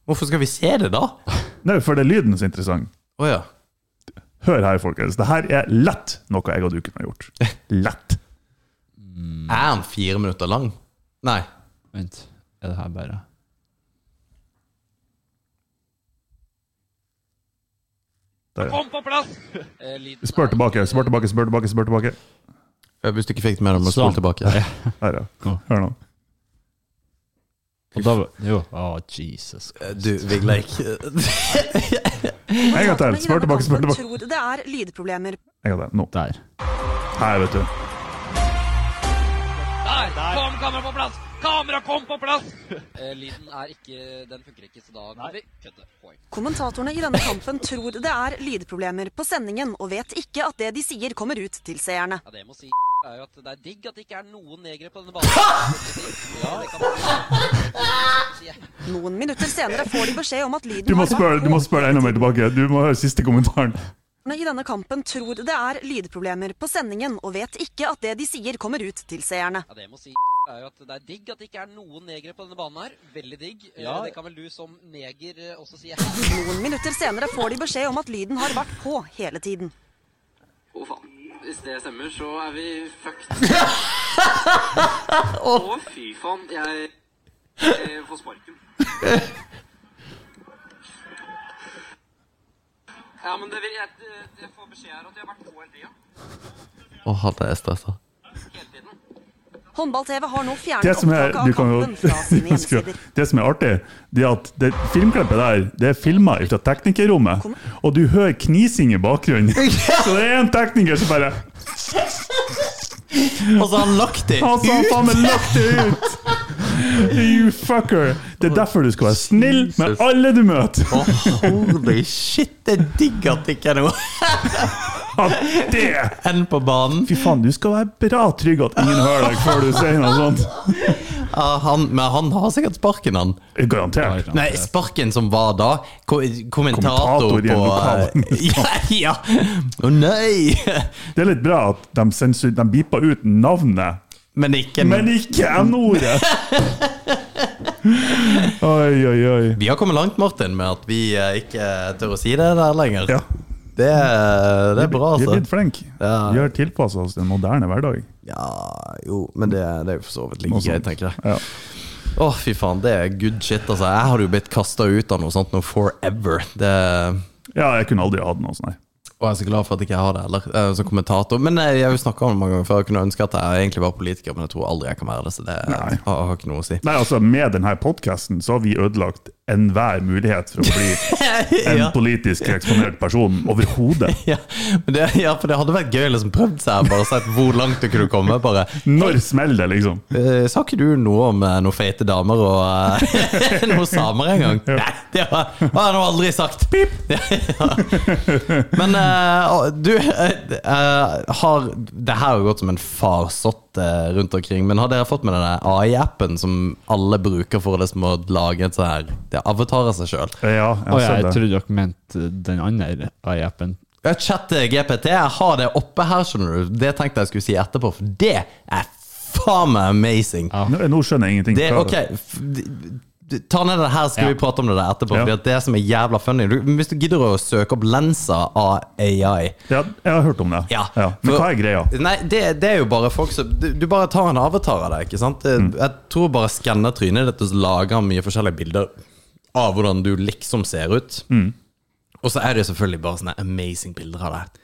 Speaker 7: Hvorfor skal vi se det, da? Å
Speaker 6: Nei, for det er lyden som er interessant.
Speaker 7: ja.
Speaker 6: Hør her, folkens. Det her er lett noe jeg og du kunne ha gjort. Lett.
Speaker 7: Er han fire minutter lang? Nei.
Speaker 8: Vent. Er det her bare
Speaker 6: Der. Kom på plass! Spør tilbake, spør tilbake, spør tilbake. spør tilbake.
Speaker 7: Hvis du ikke fikk det med deg, må du
Speaker 8: Sånn.
Speaker 7: spole tilbake.
Speaker 6: Her, ja. Hør nå.
Speaker 8: Og da, jo. Å, Jesus.
Speaker 7: Eh, Du, Vigleik [laughs] Det
Speaker 6: En gang til. Spør tilbake, spør tilbake.
Speaker 9: tror det er lydproblemer.
Speaker 6: En gang til. Nå.
Speaker 8: Der.
Speaker 6: Her, vet du.
Speaker 10: Lyden er ikke Den funker ikke, så da må vi kutte. Poeng.
Speaker 9: Kommentatorene i denne kampen tror det er lydproblemer på sendingen, og vet ikke at det de sier kommer ut til seerne.
Speaker 10: Ja, det må si er jo at det er digg at det ikke er noen negere på denne banen. Ja, det kan man si.
Speaker 9: Noen minutter senere får de beskjed om at lyden
Speaker 6: Du må
Speaker 9: har vært
Speaker 6: spørre, du må
Speaker 9: på.
Speaker 6: spørre enda mer tilbake. Du må høre siste kommentaren.
Speaker 9: Kommentatorene I denne kampen tror det er lydproblemer på sendingen, og vet ikke at det de sier kommer ut til seerne.
Speaker 10: Ja, det må si er jo at det er digg at det ikke er noen negere på denne banen her. Veldig digg. Eh, Det kan vel du som neger eh, også si.
Speaker 9: Noen minutter senere får de beskjed om at lyden har vært på hele tiden.
Speaker 10: Å faen. Hvis det stemmer, så er vi fucked. Å, fy faen. Jeg, får sparken. Ja, men det vil jeg, jeg får beskjed her at jeg har vært på hele tida.
Speaker 7: Å, han er stressa.
Speaker 10: Hele tiden.
Speaker 9: Håndball-TV har nå
Speaker 6: Det
Speaker 9: fjernet
Speaker 6: som er,
Speaker 9: opptaket av
Speaker 6: du kan jo,
Speaker 9: kampen
Speaker 6: [laughs]
Speaker 9: fra sine
Speaker 6: skru av.
Speaker 9: hjemmesider.
Speaker 6: det som er artig, det er at det filmklippet der det er filma fra teknikerrommet, og du hører knising i bakgrunnen. Så det er en tekniker som bare
Speaker 7: Og så har han lagt det
Speaker 6: Han sa faen meg lagt det ut! [laughs] You fucker! Det er derfor du skal være snill med alle du
Speaker 7: [laughs]
Speaker 6: møter!
Speaker 7: Å, holy shit, det er digg at det ikke er noe
Speaker 6: Ja, Det!
Speaker 7: enn på banen.
Speaker 6: Fy faen, du skal være bra trygg at ingen hører deg før du sier noe sånt.
Speaker 7: Ja, han, men han har sikkert sparken, han.
Speaker 6: Garantert.
Speaker 7: Nei, sparken som var da. Ko kommentator,
Speaker 6: Kommentator i en
Speaker 7: på eh,
Speaker 6: lokal-
Speaker 7: [laughs] Ja! ja. Å nei!
Speaker 6: Det er litt bra at de, sensu- de beeper ut navnet,
Speaker 7: Men ikke
Speaker 6: men ikke N-ordet! Oi, oi, oi.
Speaker 7: Vi har kommet langt, Martin, med at vi eh, ikke tør å si det der lenger.
Speaker 6: Ja.
Speaker 7: Det, er- det er bra,
Speaker 6: Vi er blitt
Speaker 7: altså.
Speaker 6: flinke.
Speaker 7: Ja.
Speaker 6: Vi har tilpassa oss den moderne hverdag.
Speaker 7: Ja, jo, men det, det er jo for så vidt like
Speaker 6: Noe
Speaker 7: greit,
Speaker 6: sånt.
Speaker 7: tenker jeg. Å,
Speaker 6: Ja.
Speaker 7: fy faen, det er good shit, altså. Jeg hadde jo blitt kasta ut av noe sånt nå forever. Det,
Speaker 6: ja, jeg kunne aldri hatt noe sånn sånt. nei.
Speaker 7: og jeg er så glad for at jeg ikke har det heller, eh, som kommentator. Men eh, jeg har jo snakka om det mange ganger før, jeg kunne ønske at jeg egentlig var politiker, men jeg tror aldri jeg kan være det, så det har, har ikke noe å si. [laughs]
Speaker 6: Nei, altså, Med denne podkasten har vi ødelagt enhver mulighet for å bli en
Speaker 7: [laughs] Ja.
Speaker 6: politisk eksponert person overhodet.
Speaker 7: Ja, men det, ja, for det hadde vært gøy å liksom prøvd seg, bare sett hvor langt du kunne komme. Bare
Speaker 6: Når smeller det, liksom?
Speaker 7: Eh, Sa ikke du noe om eh, noen feite damer og eh, [laughs] noen samer en gang? Nei, det har har jeg nå aldri sagt. Pip! Ja, [laughs] ja. Men eh, å, du eh, eh, har Det her har gått som en farsott eh, rundt omkring, men har dere fått med denne AI-appen som alle bruker for å liksom å lage et sånt her Det avtarer seg sjøl.
Speaker 6: Ja, jeg
Speaker 8: Å
Speaker 6: har
Speaker 8: ja, jeg
Speaker 6: sett det.
Speaker 8: trodde dere mente den andre AI-appen.
Speaker 7: Chat-GPT, jeg har det oppe her, skjønner du. Det tenkte jeg skulle si etterpå, for det er faen meg amazing.
Speaker 6: Nå, nå skjønner jeg ingenting.
Speaker 7: Det,
Speaker 6: Hva-
Speaker 7: ok, f- d- Ta ned det her, skal vi prate om det der etterpå.
Speaker 6: Ja.
Speaker 7: Fordi at det som er jævla funny du, Hvis du gidder å søke opp lensa av AI
Speaker 6: Ja, jeg har hørt om det.
Speaker 7: Ja.
Speaker 6: Men
Speaker 7: For-
Speaker 6: hva er greia?
Speaker 7: Nei, det, det er jo bare folk som Du, du bare tar en avatar av deg, ikke sant? Det-
Speaker 6: Mm.
Speaker 7: Jeg tror bare skanner trynet ditt og så lager han mye forskjellige bilder av hvordan du liksom ser ut.
Speaker 6: Mm.
Speaker 7: Og så er det jo selvfølgelig bare sånne amazing bilder av deg.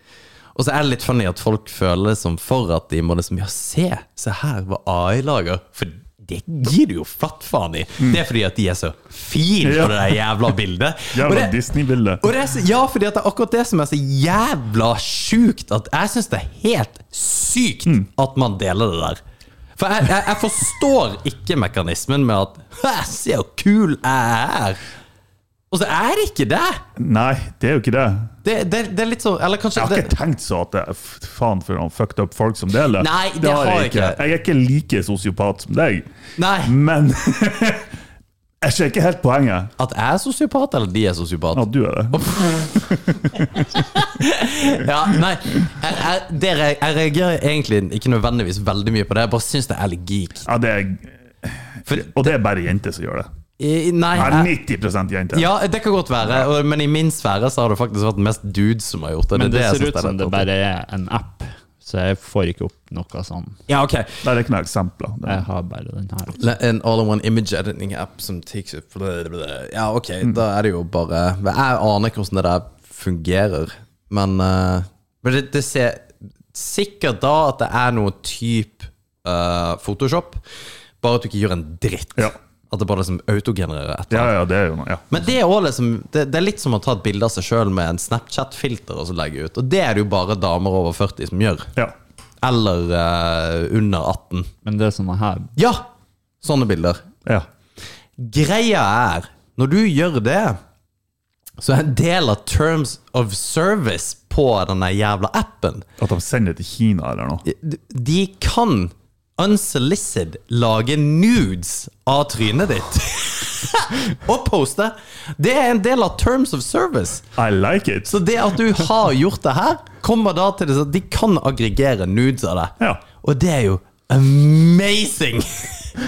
Speaker 7: Og så er det litt funny at folk føler det som for at de må liksom Ja, se, se her hva AI lager. For det gir du jo flatt faen i. Det er fordi at de er så fine
Speaker 6: Mm. Ja.
Speaker 7: på det der jævla bildet. Og
Speaker 6: [laughs] Jævla
Speaker 7: det-
Speaker 6: Disney-bilde.
Speaker 7: og det er, så- ja, fordi at det er akkurat det som er så jævla sjukt. At jeg syns det er helt sykt
Speaker 6: Mm.
Speaker 7: at man deler det der. For jeg, jeg, jeg forstår ikke mekanismen med at «Hæ, Se hvor kul jeg er! Og så er det ikke det!
Speaker 6: Nei, det er jo ikke det.
Speaker 7: Det, det, det er litt sånn Eller kanskje
Speaker 6: Jeg har
Speaker 7: det,
Speaker 6: ikke tenkt så at det er f- faen for noen fucked up folk som deler.
Speaker 7: Nei, det har jeg ikke.
Speaker 6: Jeg er ikke like sosiopat som deg,
Speaker 7: Nei,
Speaker 6: men [laughs] jeg ser ikke helt poenget.
Speaker 7: at jeg er sosiopat, eller de er sosiopat.
Speaker 6: Ja, du er det.
Speaker 7: Ja, nei, jeg, jeg, det re- jeg reagerer egentlig ikke nødvendigvis veldig mye på det. Jeg bare syns det er litt geek.
Speaker 6: Ja, det er,
Speaker 7: For,
Speaker 6: og det er bare jenter som gjør det.
Speaker 7: i- nei,
Speaker 6: Jeg
Speaker 7: jeg,
Speaker 6: er 90 jenter.
Speaker 7: Ja, det kan godt være, og- men i min sfære så har det faktisk vært mest dudes som har gjort det.
Speaker 8: Men det,
Speaker 7: er jeg
Speaker 8: ser
Speaker 7: synes
Speaker 8: ut
Speaker 7: er
Speaker 8: som
Speaker 7: litt
Speaker 8: det
Speaker 7: artig.
Speaker 8: bare er en app, så jeg får ikke opp noe sånn.
Speaker 7: Ja, ok.
Speaker 6: Det er ikke noen eksempler. Det-
Speaker 8: Jeg har bare den her.
Speaker 7: Le- En all-in-one image editing app som takes up blablabla. Ja, ok,
Speaker 8: Mm.
Speaker 7: da er det jo bare Jeg aner ikke hvordan det der fungerer, men eh, Men det, det ser sikkert da at det er noe type eh, Photoshop, bare at du ikke gjør en dritt.
Speaker 6: Ja.
Speaker 7: At det bare liksom autogenererer et eller annet.
Speaker 6: Ja, ja, det er jo noe. Ja.
Speaker 7: Men det er, også liksom, det, det er litt som å ta et bilde av seg sjøl med en Snapchat-filter og så legge ut. Og det er det jo bare damer over 40 som gjør.
Speaker 6: ja.
Speaker 7: Eller eh, under 18.
Speaker 8: Men det er sånne her
Speaker 7: Ja! Sånne bilder.
Speaker 6: ja.
Speaker 7: Greia er, når du gjør det, så er en del av terms of service på denne jævla appen
Speaker 6: At de sender det til Kina eller noe.
Speaker 7: De kan unsolicited lage nudes av trynet ditt. [laughs] og poste. Det er en del av terms of service.
Speaker 6: I like it!
Speaker 7: Så det at du har gjort det her, kommer da til det sånn at de kan aggregere nudes av deg.
Speaker 6: Ja.
Speaker 7: Og det er jo amazing!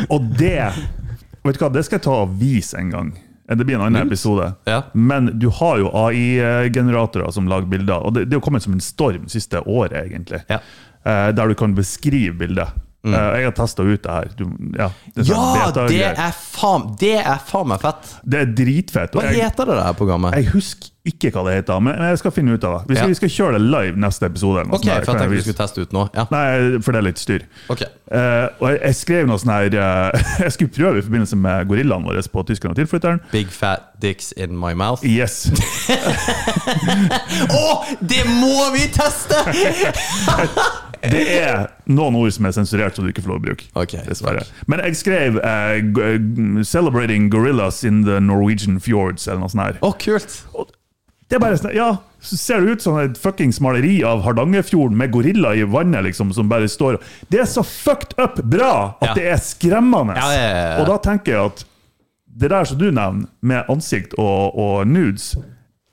Speaker 6: Og det Vet du hva, det skal jeg ta og vise en gang. Det blir en annen episode.
Speaker 7: Mm. Ja.
Speaker 6: Men du har jo AI-generatorer som lager bilder, og det, det har kommet som en storm siste året, egentlig.
Speaker 7: Ja. Mm.
Speaker 6: Eh, der du kan beskrive bildet. Eh, jeg har testa ut det her. Du, ja, det, er sånn
Speaker 7: Ja,
Speaker 6: beta-greier.
Speaker 7: det er faen Det er faen meg fett.
Speaker 6: det er dritfett. og
Speaker 7: Hva
Speaker 6: jeg-
Speaker 7: heter det der programmet?
Speaker 6: Jeg husker ikke hva det heter, men men jeg skal finne ut av det. Vi skal,
Speaker 7: Ja.
Speaker 6: vi skal kjøre det live neste episode. eller noe
Speaker 7: Ok,
Speaker 6: sånt
Speaker 7: for jeg
Speaker 6: der, kan
Speaker 7: tenkte vi
Speaker 6: vise.
Speaker 7: skulle teste ut nå. Ja.
Speaker 6: Nei, for det er litt styr.
Speaker 7: Ok.
Speaker 6: Eh, og jeg, jeg skrev noe sånn her eh, [laughs] Jeg skulle prøve i forbindelse med gorillaene våre på Tyskland og tilflytteren.
Speaker 7: Big fat dicks in my mouth. Å,
Speaker 6: Yes.
Speaker 7: det må vi teste!
Speaker 6: Det er noen ord som er sensurert, så du ikke får lov å bruke.
Speaker 7: Ok,
Speaker 6: dessverre. Men jeg skrev eh, g- g- 'Celebrating gorillas in the Norwegian fjords' eller noe sånt. her.
Speaker 7: Å, kult.
Speaker 6: Det er bare sånn, ja, så ser det ut som et fuckings maleri av Hardangerfjorden med gorilla i vannet, liksom, som bare står Det er så fucked up bra at
Speaker 7: Ja.
Speaker 6: det er skremmende!
Speaker 7: Ja, ja, ja, ja.
Speaker 6: Og da tenker jeg at det der som du nevner, med ansikt og, og nudes,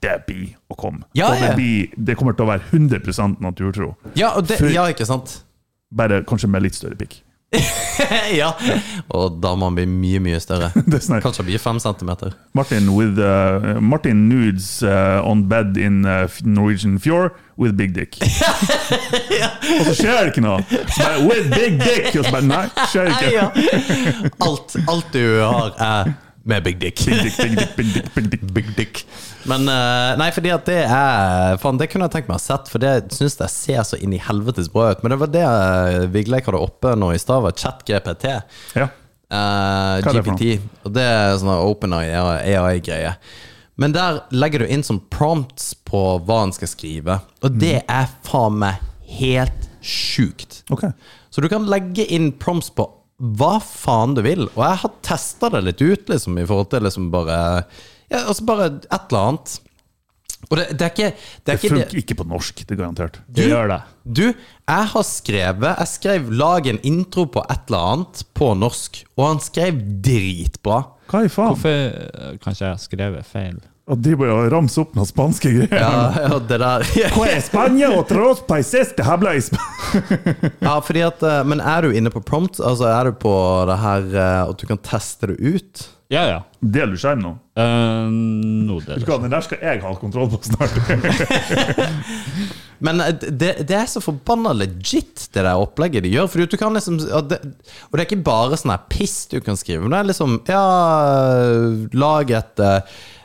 Speaker 6: det blir å komme.
Speaker 7: Ja,
Speaker 6: og det,
Speaker 7: ja.
Speaker 6: blir, det kommer til å være 100 naturtro.
Speaker 7: Ja, og det, ja ikke sant? [laughs]
Speaker 6: Bare kanskje med litt større pikk.
Speaker 7: ja. Og damene blir mye, mye større.
Speaker 6: [laughs] Det er sånn her,
Speaker 7: Kanskje blir fem centimeter.
Speaker 6: Martin, with, uh, Martin nudes uh, on bed in uh, Norwegian fjord with big dick.
Speaker 7: [laughs]
Speaker 6: Og så skjer det ikke noe! Så bare, with big dick! Og så bare nei, skjer
Speaker 7: Nei,
Speaker 6: ikke.
Speaker 7: ja. [laughs] alt, alt du har er med big dick.
Speaker 6: Big dick, big dick, big dick, big dick.
Speaker 7: Big dick. Men eh, nei, fordi at det er Faen, det kunne jeg tenkt meg å ha sett, for det syns jeg ser så inn i helvetes bra ut. Men det var det eh, Vigleik hadde oppe nå i stad, var ChatGPT.
Speaker 6: Ja.
Speaker 7: Eh,
Speaker 6: Hva er det for
Speaker 7: GPT. Og det er sånn open AI-greie. Men der legger du inn som prompts på hva han skal skrive, og det
Speaker 6: Mm.
Speaker 7: er faen meg helt sjukt.
Speaker 6: Ok.
Speaker 7: Så du kan legge inn prompts på hva faen du vil. Og jeg har testa det litt ut, liksom, i forhold til liksom bare Ja, altså bare et eller annet. Og det, det er ikke Det
Speaker 6: Det
Speaker 7: er ikke det
Speaker 6: funker ikke på norsk, det er garantert.
Speaker 8: Du gjør det.
Speaker 7: Du, jeg har skrevet Jeg skrev 'lag en intro på et eller annet' på norsk, og han skrev dritbra.
Speaker 6: Hva i faen?
Speaker 8: Hvorfor eh, kanskje jeg har skrevet feil?
Speaker 6: Og de bare ramser opp noen spanske
Speaker 7: [laughs]
Speaker 6: greier.
Speaker 7: Ja, ja, det
Speaker 6: [laughs]
Speaker 7: der
Speaker 6: Hva Mm. er Spania og tros paises de habla i Sp-
Speaker 7: Ja, fordi at eh, Men er du inne på prompt? Altså, er du på det her eh, at du kan teste det ut?
Speaker 8: Ja, ja.
Speaker 6: Deler du skjerm nå?
Speaker 8: Eh, nå det
Speaker 6: Vet du hva, Den der skal jeg ha kontroll på snart.
Speaker 7: Men eh, det, det er så forbanna legit, det der opplegget de gjør. For du kan liksom Og det, og det er ikke bare sånn her piss du kan skrive. Men det er liksom Ja, lag et eh,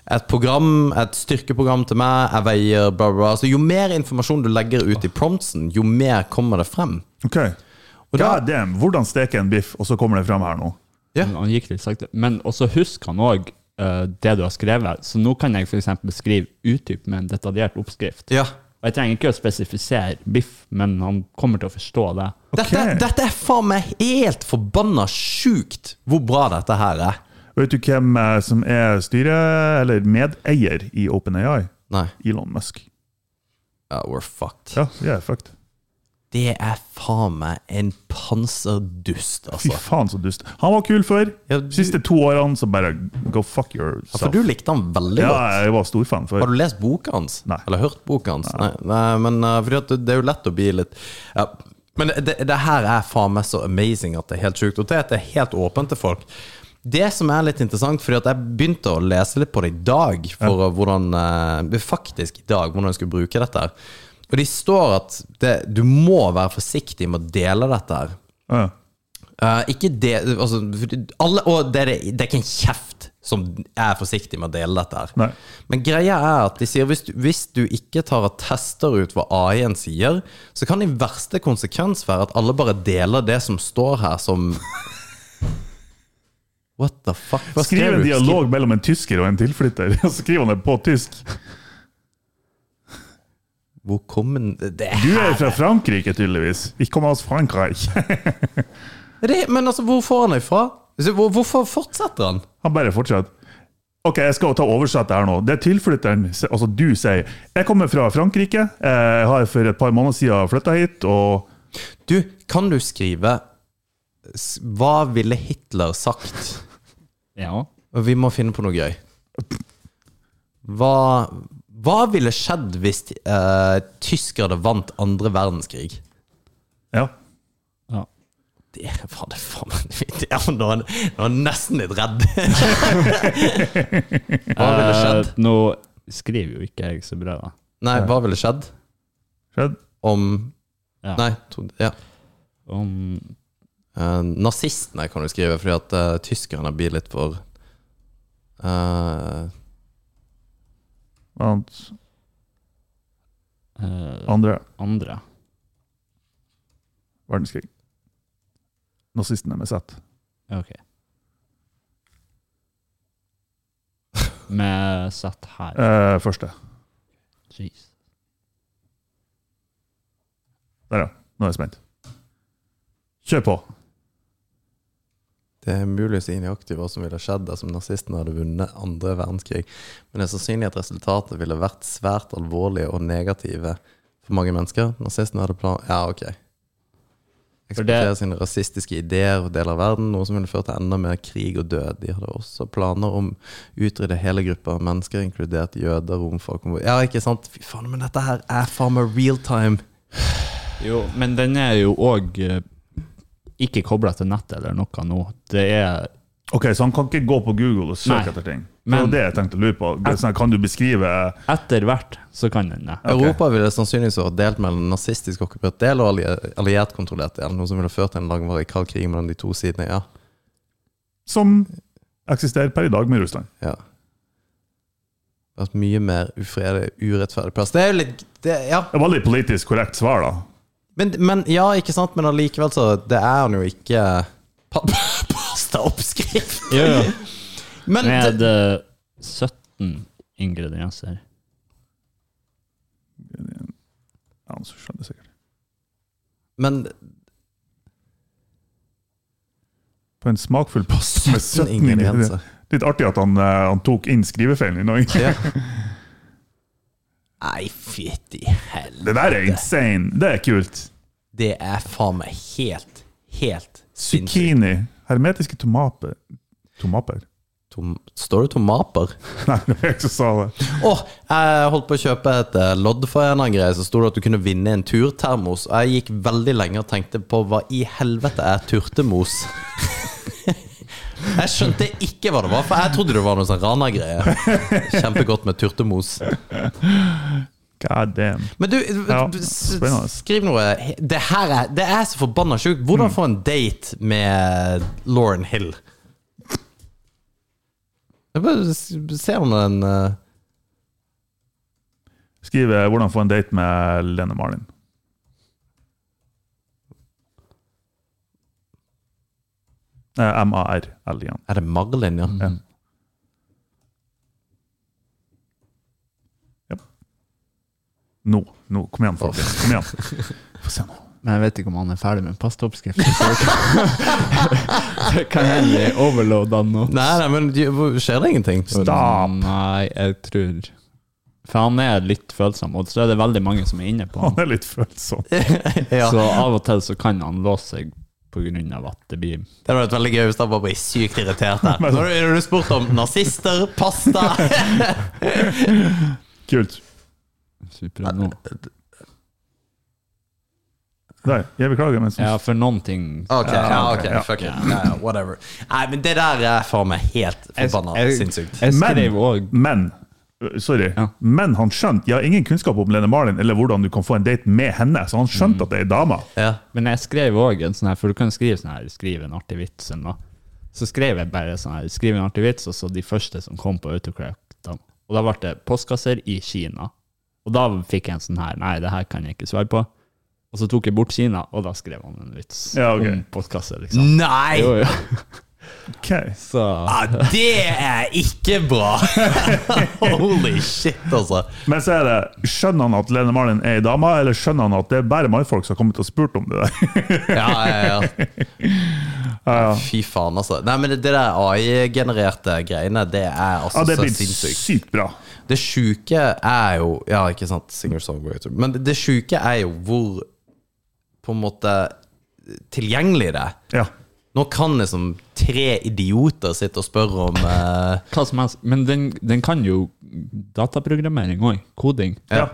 Speaker 7: et program, et styrkeprogram til meg, jeg veier bla, bla, bla. Altså, jo mer informasjon du legger ut i promptsen, jo mer kommer det frem.
Speaker 6: Ok,
Speaker 7: Og da,
Speaker 6: God damn, Hvordan steke en biff, og så kommer det fram her nå?
Speaker 7: Ja.
Speaker 8: Han gikk litt sakte. Men også husk han òg det du har skrevet. Så nå kan jeg f.eks. skrive utdyp med en detaljert oppskrift.
Speaker 7: ja.
Speaker 8: Og jeg trenger ikke å spesifisere biff, men han kommer til å forstå det.
Speaker 7: Dette,
Speaker 6: Ok.
Speaker 7: dette er faen meg helt forbanna sjukt hvor bra dette her er.
Speaker 6: Vet du hvem eh, som er styre, eller medeier i OpenAI?
Speaker 7: Nei.
Speaker 6: Elon Musk.
Speaker 7: Ja, we're fucked.
Speaker 6: Ja, vi er fucked.
Speaker 7: Det er faen meg en panserdust,
Speaker 6: Fy
Speaker 7: altså.
Speaker 6: faen, så dust. Han var kul før.
Speaker 7: Ja, du-
Speaker 6: Siste to årene så bare go fuck yourself.
Speaker 7: Ja, for du likte han veldig
Speaker 6: Ja,
Speaker 7: godt.
Speaker 6: jeg var storfan før.
Speaker 7: Har du lest boka hans?
Speaker 6: Nei.
Speaker 7: Eller hørt boka hans? Nei, nei men uh, fordi at det- det er jo lett å bli litt ja. Men det, det her er faen meg så amazing at det er helt sjukt. Og det at det er helt åpent til folk. Det som er litt interessant, fordi at jeg begynte å lese litt på det i dag, for uh, hvordan uh, faktisk i dag, hvordan jeg skulle bruke dette her. Og de står at det, du må være forsiktig med å dele dette her.
Speaker 6: Ja.
Speaker 7: Eh, ikke det altså, alle, Og det er, det det er ikke en kjeft som er forsiktig med å dele dette her.
Speaker 6: Nei.
Speaker 7: Men greia er at de sier hvis du, hvis du ikke tar og tester ut hva AI-en sier, så kan i verste konsekvens være at alle bare deler det som står her, som [laughs] What the fuck? Hva skrev
Speaker 6: Skriv en
Speaker 7: du?
Speaker 6: dialog mellom en tysker og en tilflytter, [laughs] og så skriver han det på tysk.
Speaker 7: Skriv, hvor kom den det,
Speaker 6: Du er fra Frankrike, tydeligvis. Vi kommer oss Frankrike. [laughs]
Speaker 7: det, Men altså, hvor får han det ifra? Altså, Hvor, hvorfor fortsetter han?
Speaker 6: Han bare fortsatt. Ok, jeg skal ta og oversette her nå. Det er tilflytteren, altså du sier. Jeg kommer fra Frankrike. Jeg har for et par måneder siden flytta hit, og
Speaker 7: Du, kan du skrive s- Hva ville Hitler sagt?
Speaker 8: Ja.
Speaker 7: Og Vi må finne på noe gøy. Hva, hva ville skjedd hvis uh, tyskerne vant andre verdenskrig?
Speaker 6: ja.
Speaker 8: ja.
Speaker 7: Det var det faen meg Ja, men Nå er jeg nå er jeg nesten litt
Speaker 8: [laughs]
Speaker 7: redd. hva ville skjedd?
Speaker 8: Eh, nå skriver jo ikke jeg så bra, da.
Speaker 7: Nei, hva ville skjedd
Speaker 6: Skjedd.
Speaker 7: om
Speaker 8: Ja.
Speaker 7: Nei, to, ja.
Speaker 8: Om
Speaker 7: Eh, nazistene kan du skrive, fordi at eh, tyskerne blir litt for eh,
Speaker 6: Han-
Speaker 8: eh,
Speaker 6: Andre
Speaker 8: andre.
Speaker 6: verdenskrig. Nazistene med Z.
Speaker 8: Ok. Med satt her.
Speaker 6: Eh, første.
Speaker 8: Jeez.
Speaker 6: Der, ja. Nå er jeg spent. Kjør på.
Speaker 7: Det er mulig å si nøyaktig hva som ville skjedd dersom nazistene hadde vunnet andre verdenskrig, men det er sannsynlig at resultatet ville vært svært alvorlige og negative for mange mennesker. Nazistene hadde plan... Ja, ok.
Speaker 8: For
Speaker 7: Eksportere
Speaker 8: det-
Speaker 7: sine rasistiske ideer og deler av verden, noe som ville ført til enda mer krig og død. De hadde også planer om å utrydde hele grupper av mennesker, inkludert jøder, romfolk og Ja, ikke sant? Fy faen, men dette her er faen meg real time!
Speaker 8: Jo, men den er jo òg ikke kobla til nettet eller noe nå. Det er
Speaker 6: Ok, Så han kan ikke gå på Google og søke
Speaker 8: Nei.
Speaker 6: etter ting? det
Speaker 8: Men-
Speaker 6: var det jeg tenkte å lure på. Det er sånn, kan du beskrive
Speaker 8: Etter hvert så kan den det.
Speaker 7: Europa ville sannsynligvis vært delt mellom nazistisk okkupert del og alli- alliert kontrollert del, noe som ville ført til en langvarig kald krig mellom de to sidene. Ja.
Speaker 6: som eksisterer per i dag med Russland?
Speaker 7: ja. Vært mye mer ufredelig, urettferdig plass. Det er jo litt det, Ja.
Speaker 6: Det var litt politisk korrekt svar, da.
Speaker 7: Men, men ja, ikke sant? Men allikevel, så Det er han jo ikke Pa- Pasta oppskrift!
Speaker 8: Jo, jo.
Speaker 7: Men
Speaker 8: Med
Speaker 7: det,
Speaker 8: eh, 17 ingredienser.
Speaker 6: Ja, han skjønner sikkert.
Speaker 7: men
Speaker 6: På en smakfull pasta med 17
Speaker 7: ingredienser.
Speaker 6: ingredienser. Litt artig at han, eh, han tok inn skrivefeilen i Norge.
Speaker 7: Ja. Nei, fytti helvete.
Speaker 6: Det der er insane! Det er kult.
Speaker 7: Det er faen meg helt, helt sinnssykt.
Speaker 6: Zucchini. Hermetiske tomater Tomater?
Speaker 7: Tom- Står det tomater?
Speaker 6: [laughs] Nei, det var jeg som sa det.
Speaker 7: Åh, jeg holdt på å kjøpe et eh, lodd for en eller annen greie, så sto det at du kunne vinne en turtermos. Og jeg gikk veldig lenge og tenkte på hva i helvete er turtemos? Jeg skjønte ikke hva det var, for jeg trodde det var noe sånn Rana-greie. Kjempegodt med turtemos.
Speaker 6: God damn.
Speaker 7: Men du, eh,
Speaker 6: Ja,
Speaker 7: s-
Speaker 6: spennende.
Speaker 7: skriv noe Det her er, det er så forbanna sjukt.
Speaker 6: Mm.
Speaker 7: Hvordan få en date med Lauren Hill? Jeg bare s- ser om den eh,
Speaker 6: Skrive eh, 'Hvordan få en date med Lene Marlin'. Eh, M-A-R-L igjen.
Speaker 7: Er det Marlin, ja?
Speaker 6: Ja. Ja. Nå. nå. Kom igjen, folkens. Kom igjen.
Speaker 8: [laughs]
Speaker 6: Få se nå.
Speaker 8: Men jeg vet ikke om han er ferdig med pastaoppskriften. så det kan- [laughs] Det kan hende overloada nå.
Speaker 7: Nei, nei, men de- hvor- skjer det ingenting?
Speaker 6: Stopp.
Speaker 8: Nei, jeg tror For han er litt følsom, og så er det veldig mange som er inne på
Speaker 6: Han
Speaker 8: han.
Speaker 6: er litt følsom.
Speaker 7: Ja.
Speaker 8: Så av og til så kan han låse seg på grunn av at det blir
Speaker 7: Det hadde vært veldig gøy hvis han bare ble sykt irritert der. Nå har du spurt om nazister, pasta [laughs]
Speaker 6: Kult.
Speaker 8: supernå.
Speaker 6: Der. Jeg beklager, men
Speaker 8: Ja, for noen ting
Speaker 7: Ok, ja,
Speaker 6: ok, ja.
Speaker 7: ok, fuck it. Ja, ja, whatever. Nei, men det der er faen meg helt forbanna sinnssykt.
Speaker 8: Jeg
Speaker 6: Men-
Speaker 8: skrev òg
Speaker 6: Men øh, Sorry.
Speaker 8: Ja.
Speaker 6: Men han skjønte Jeg har ingen kunnskap om Lene Marlin eller hvordan du kan få en date med henne, så han
Speaker 8: Mm.
Speaker 6: skjønte at det er ei dame.
Speaker 7: Ja.
Speaker 8: Men jeg skrev òg en sånn her, for du kan skrive sånn her, skrive en artig vits. eller noe. Så skrev jeg bare sånn her, skrive en artig vits, og så de første som kom på autocrackene. Og da ble det postkasser i Kina. Og da fikk jeg en sånn her, nei, det her kan jeg ikke svare på. Og så tok jeg bort Kina, og da skrev han en vits
Speaker 6: Ja, ok.
Speaker 8: om postkasser, liksom.
Speaker 7: Nei! Ah,
Speaker 8: Jo, jo. [laughs]
Speaker 6: Ok.
Speaker 8: Så
Speaker 7: Ja, det er ikke bra! Holy shit, altså.
Speaker 6: Men så er det Skjønner han at Lene Marlin er ei dame, eller skjønner han at det er bare mannfolk som har kommet og spurt om det der? [laughs]
Speaker 7: Ja, ja, ja. Fy faen, altså. Nei, men det, det der AI-genererte greiene, det er altså
Speaker 6: Ja, det
Speaker 7: så
Speaker 6: blir
Speaker 7: sinnssykt.
Speaker 6: sykt bra.
Speaker 7: Det sjuke er jo Ja, ikke sant, singer-songwriter. Men det sjuke er jo hvor på en måte tilgjengelig det er.
Speaker 6: Ja.
Speaker 7: Nå kan liksom tre idioter sitte og spørre om eh,
Speaker 8: hva som helst. Men den, den kan jo dataprogrammering òg. Koding.
Speaker 7: ja.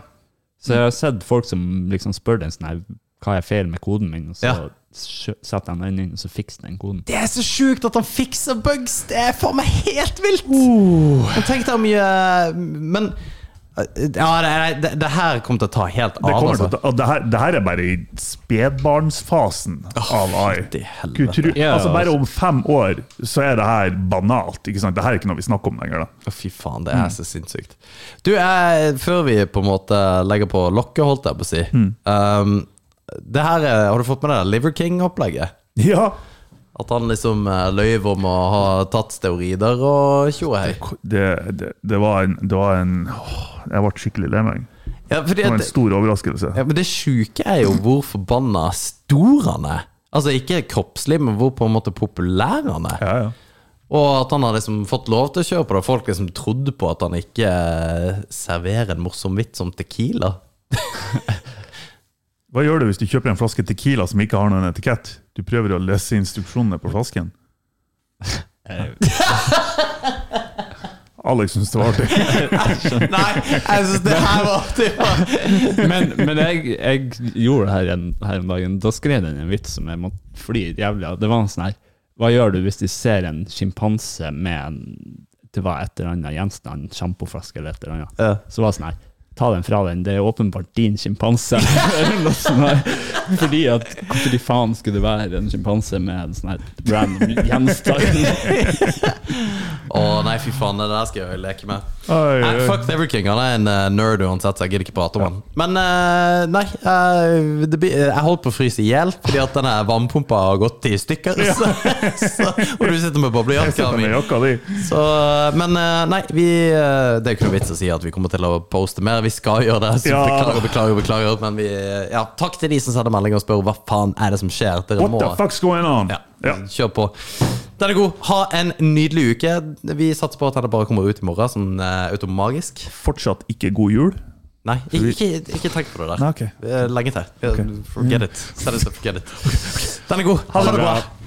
Speaker 8: Så jeg har sett folk som liksom spør den sånn her, hva er feil med koden min, og så
Speaker 7: Ja.
Speaker 8: sjø- setter han den inn, og så fikser den koden.
Speaker 7: Det er så sjukt at han fikser bugs! Det er faen meg helt vilt! Men tenk deg hvor mye Men eh, Ja, det, det, det her kommer til å ta helt av,
Speaker 6: Det, kommer
Speaker 7: altså.
Speaker 6: til, å ta- og det, her, det her er bare i spedbarnsfasen av AI.
Speaker 7: fytti helvete.
Speaker 6: Gud, tru-
Speaker 8: Ja,
Speaker 6: altså Bare om fem år så er det her banalt. ikke sant? Det her er ikke noe vi snakker om lenger. da.
Speaker 7: Å, Fy faen,
Speaker 6: Mm.
Speaker 7: det er så sinnssykt. Du, jeg, før vi på en måte legger på lokket, holdt jeg på å si
Speaker 6: Mm.
Speaker 7: um, det her, er- Har du fått med deg Liver King-opplegget?
Speaker 6: Ja,
Speaker 7: At han liksom eh, løy om å ha tatt steroider og tjo og hei.
Speaker 6: Det, det, det var en, det var en åh, Jeg ble skikkelig lei meg.
Speaker 7: Ja, fordi
Speaker 6: Det var
Speaker 7: at,
Speaker 6: en stor overraskelse.
Speaker 7: ja, men det sjuke er jo hvor forbanna stor han er. Altså ikke kroppslig, men hvor på en måte populær han er.
Speaker 6: Ja, ja.
Speaker 7: Og at han har liksom fått lov til å kjøre på det. Folk liksom trodde på at han ikke eh, serverer en morsom vits om tequila.
Speaker 6: Hva gjør du hvis du kjøper en flaske tequila som ikke har noen etikett? Du prøver å lese instruksjonene på
Speaker 7: [laughs]
Speaker 6: flasken. Alex syns det var artig.
Speaker 7: Nei, jeg syns det her var det var-
Speaker 8: Men, men jeg, jeg gjorde det her en, her om dagen. Da skrev den en vits som jeg måtte flire jævlig av. Det var en sånn her Hva gjør du hvis de ser en sjimpanse med en Det var et eller annet gjenstand, sjampoflaske eller et eller annet.
Speaker 7: Ja.
Speaker 8: Så var det sånn her Ta den fra den, det er åpenbart din sjimpanse. [laughs] Eller noe sånt her. Fordi at hvorfor i faen skulle det være en sjimpanse med en sånn her random gjenstand?
Speaker 7: Å nei, fy faen, det der skal jeg jo leke med.
Speaker 6: Oi,
Speaker 7: Nei,
Speaker 6: oi.
Speaker 7: fuck Never King, han er en eh, nerd uansett, så jeg gidder ikke prate om han. Men eh, nei, eh, det, blir- eh, jeg holdt på å fryse i hjel fordi at denne vannpumpa har gått i stykker. [laughs] Så, så, og du sitter med
Speaker 6: Jeg
Speaker 7: boblejakka
Speaker 6: sitter
Speaker 7: mi.
Speaker 6: med jakka di.
Speaker 7: Så, men eh, nei, vi, eh, det er jo ikke noe vits å si at vi kommer til å poste mer. Vi skal gjøre det, så
Speaker 6: Ja.
Speaker 7: beklager, beklager, beklager. Men vi, eh, ja, takk til de som sender melding og spør hva faen er det som skjer. Dere
Speaker 6: What
Speaker 7: må
Speaker 6: the fuck's going on?
Speaker 7: ja,
Speaker 6: Ja.
Speaker 7: kjør på. Den er god. Ha en nydelig uke. Vi satser på at den bare kommer ut i morgen, sånn eh, automagisk.
Speaker 6: Fortsatt ikke god jul?
Speaker 7: Nei, ikke, ikke, ikke tenk på det der. Eh,
Speaker 6: Nei, ok.
Speaker 7: Det er Lenge til. Forget it. Seriøst, forget it. Den er god. Ha det bra.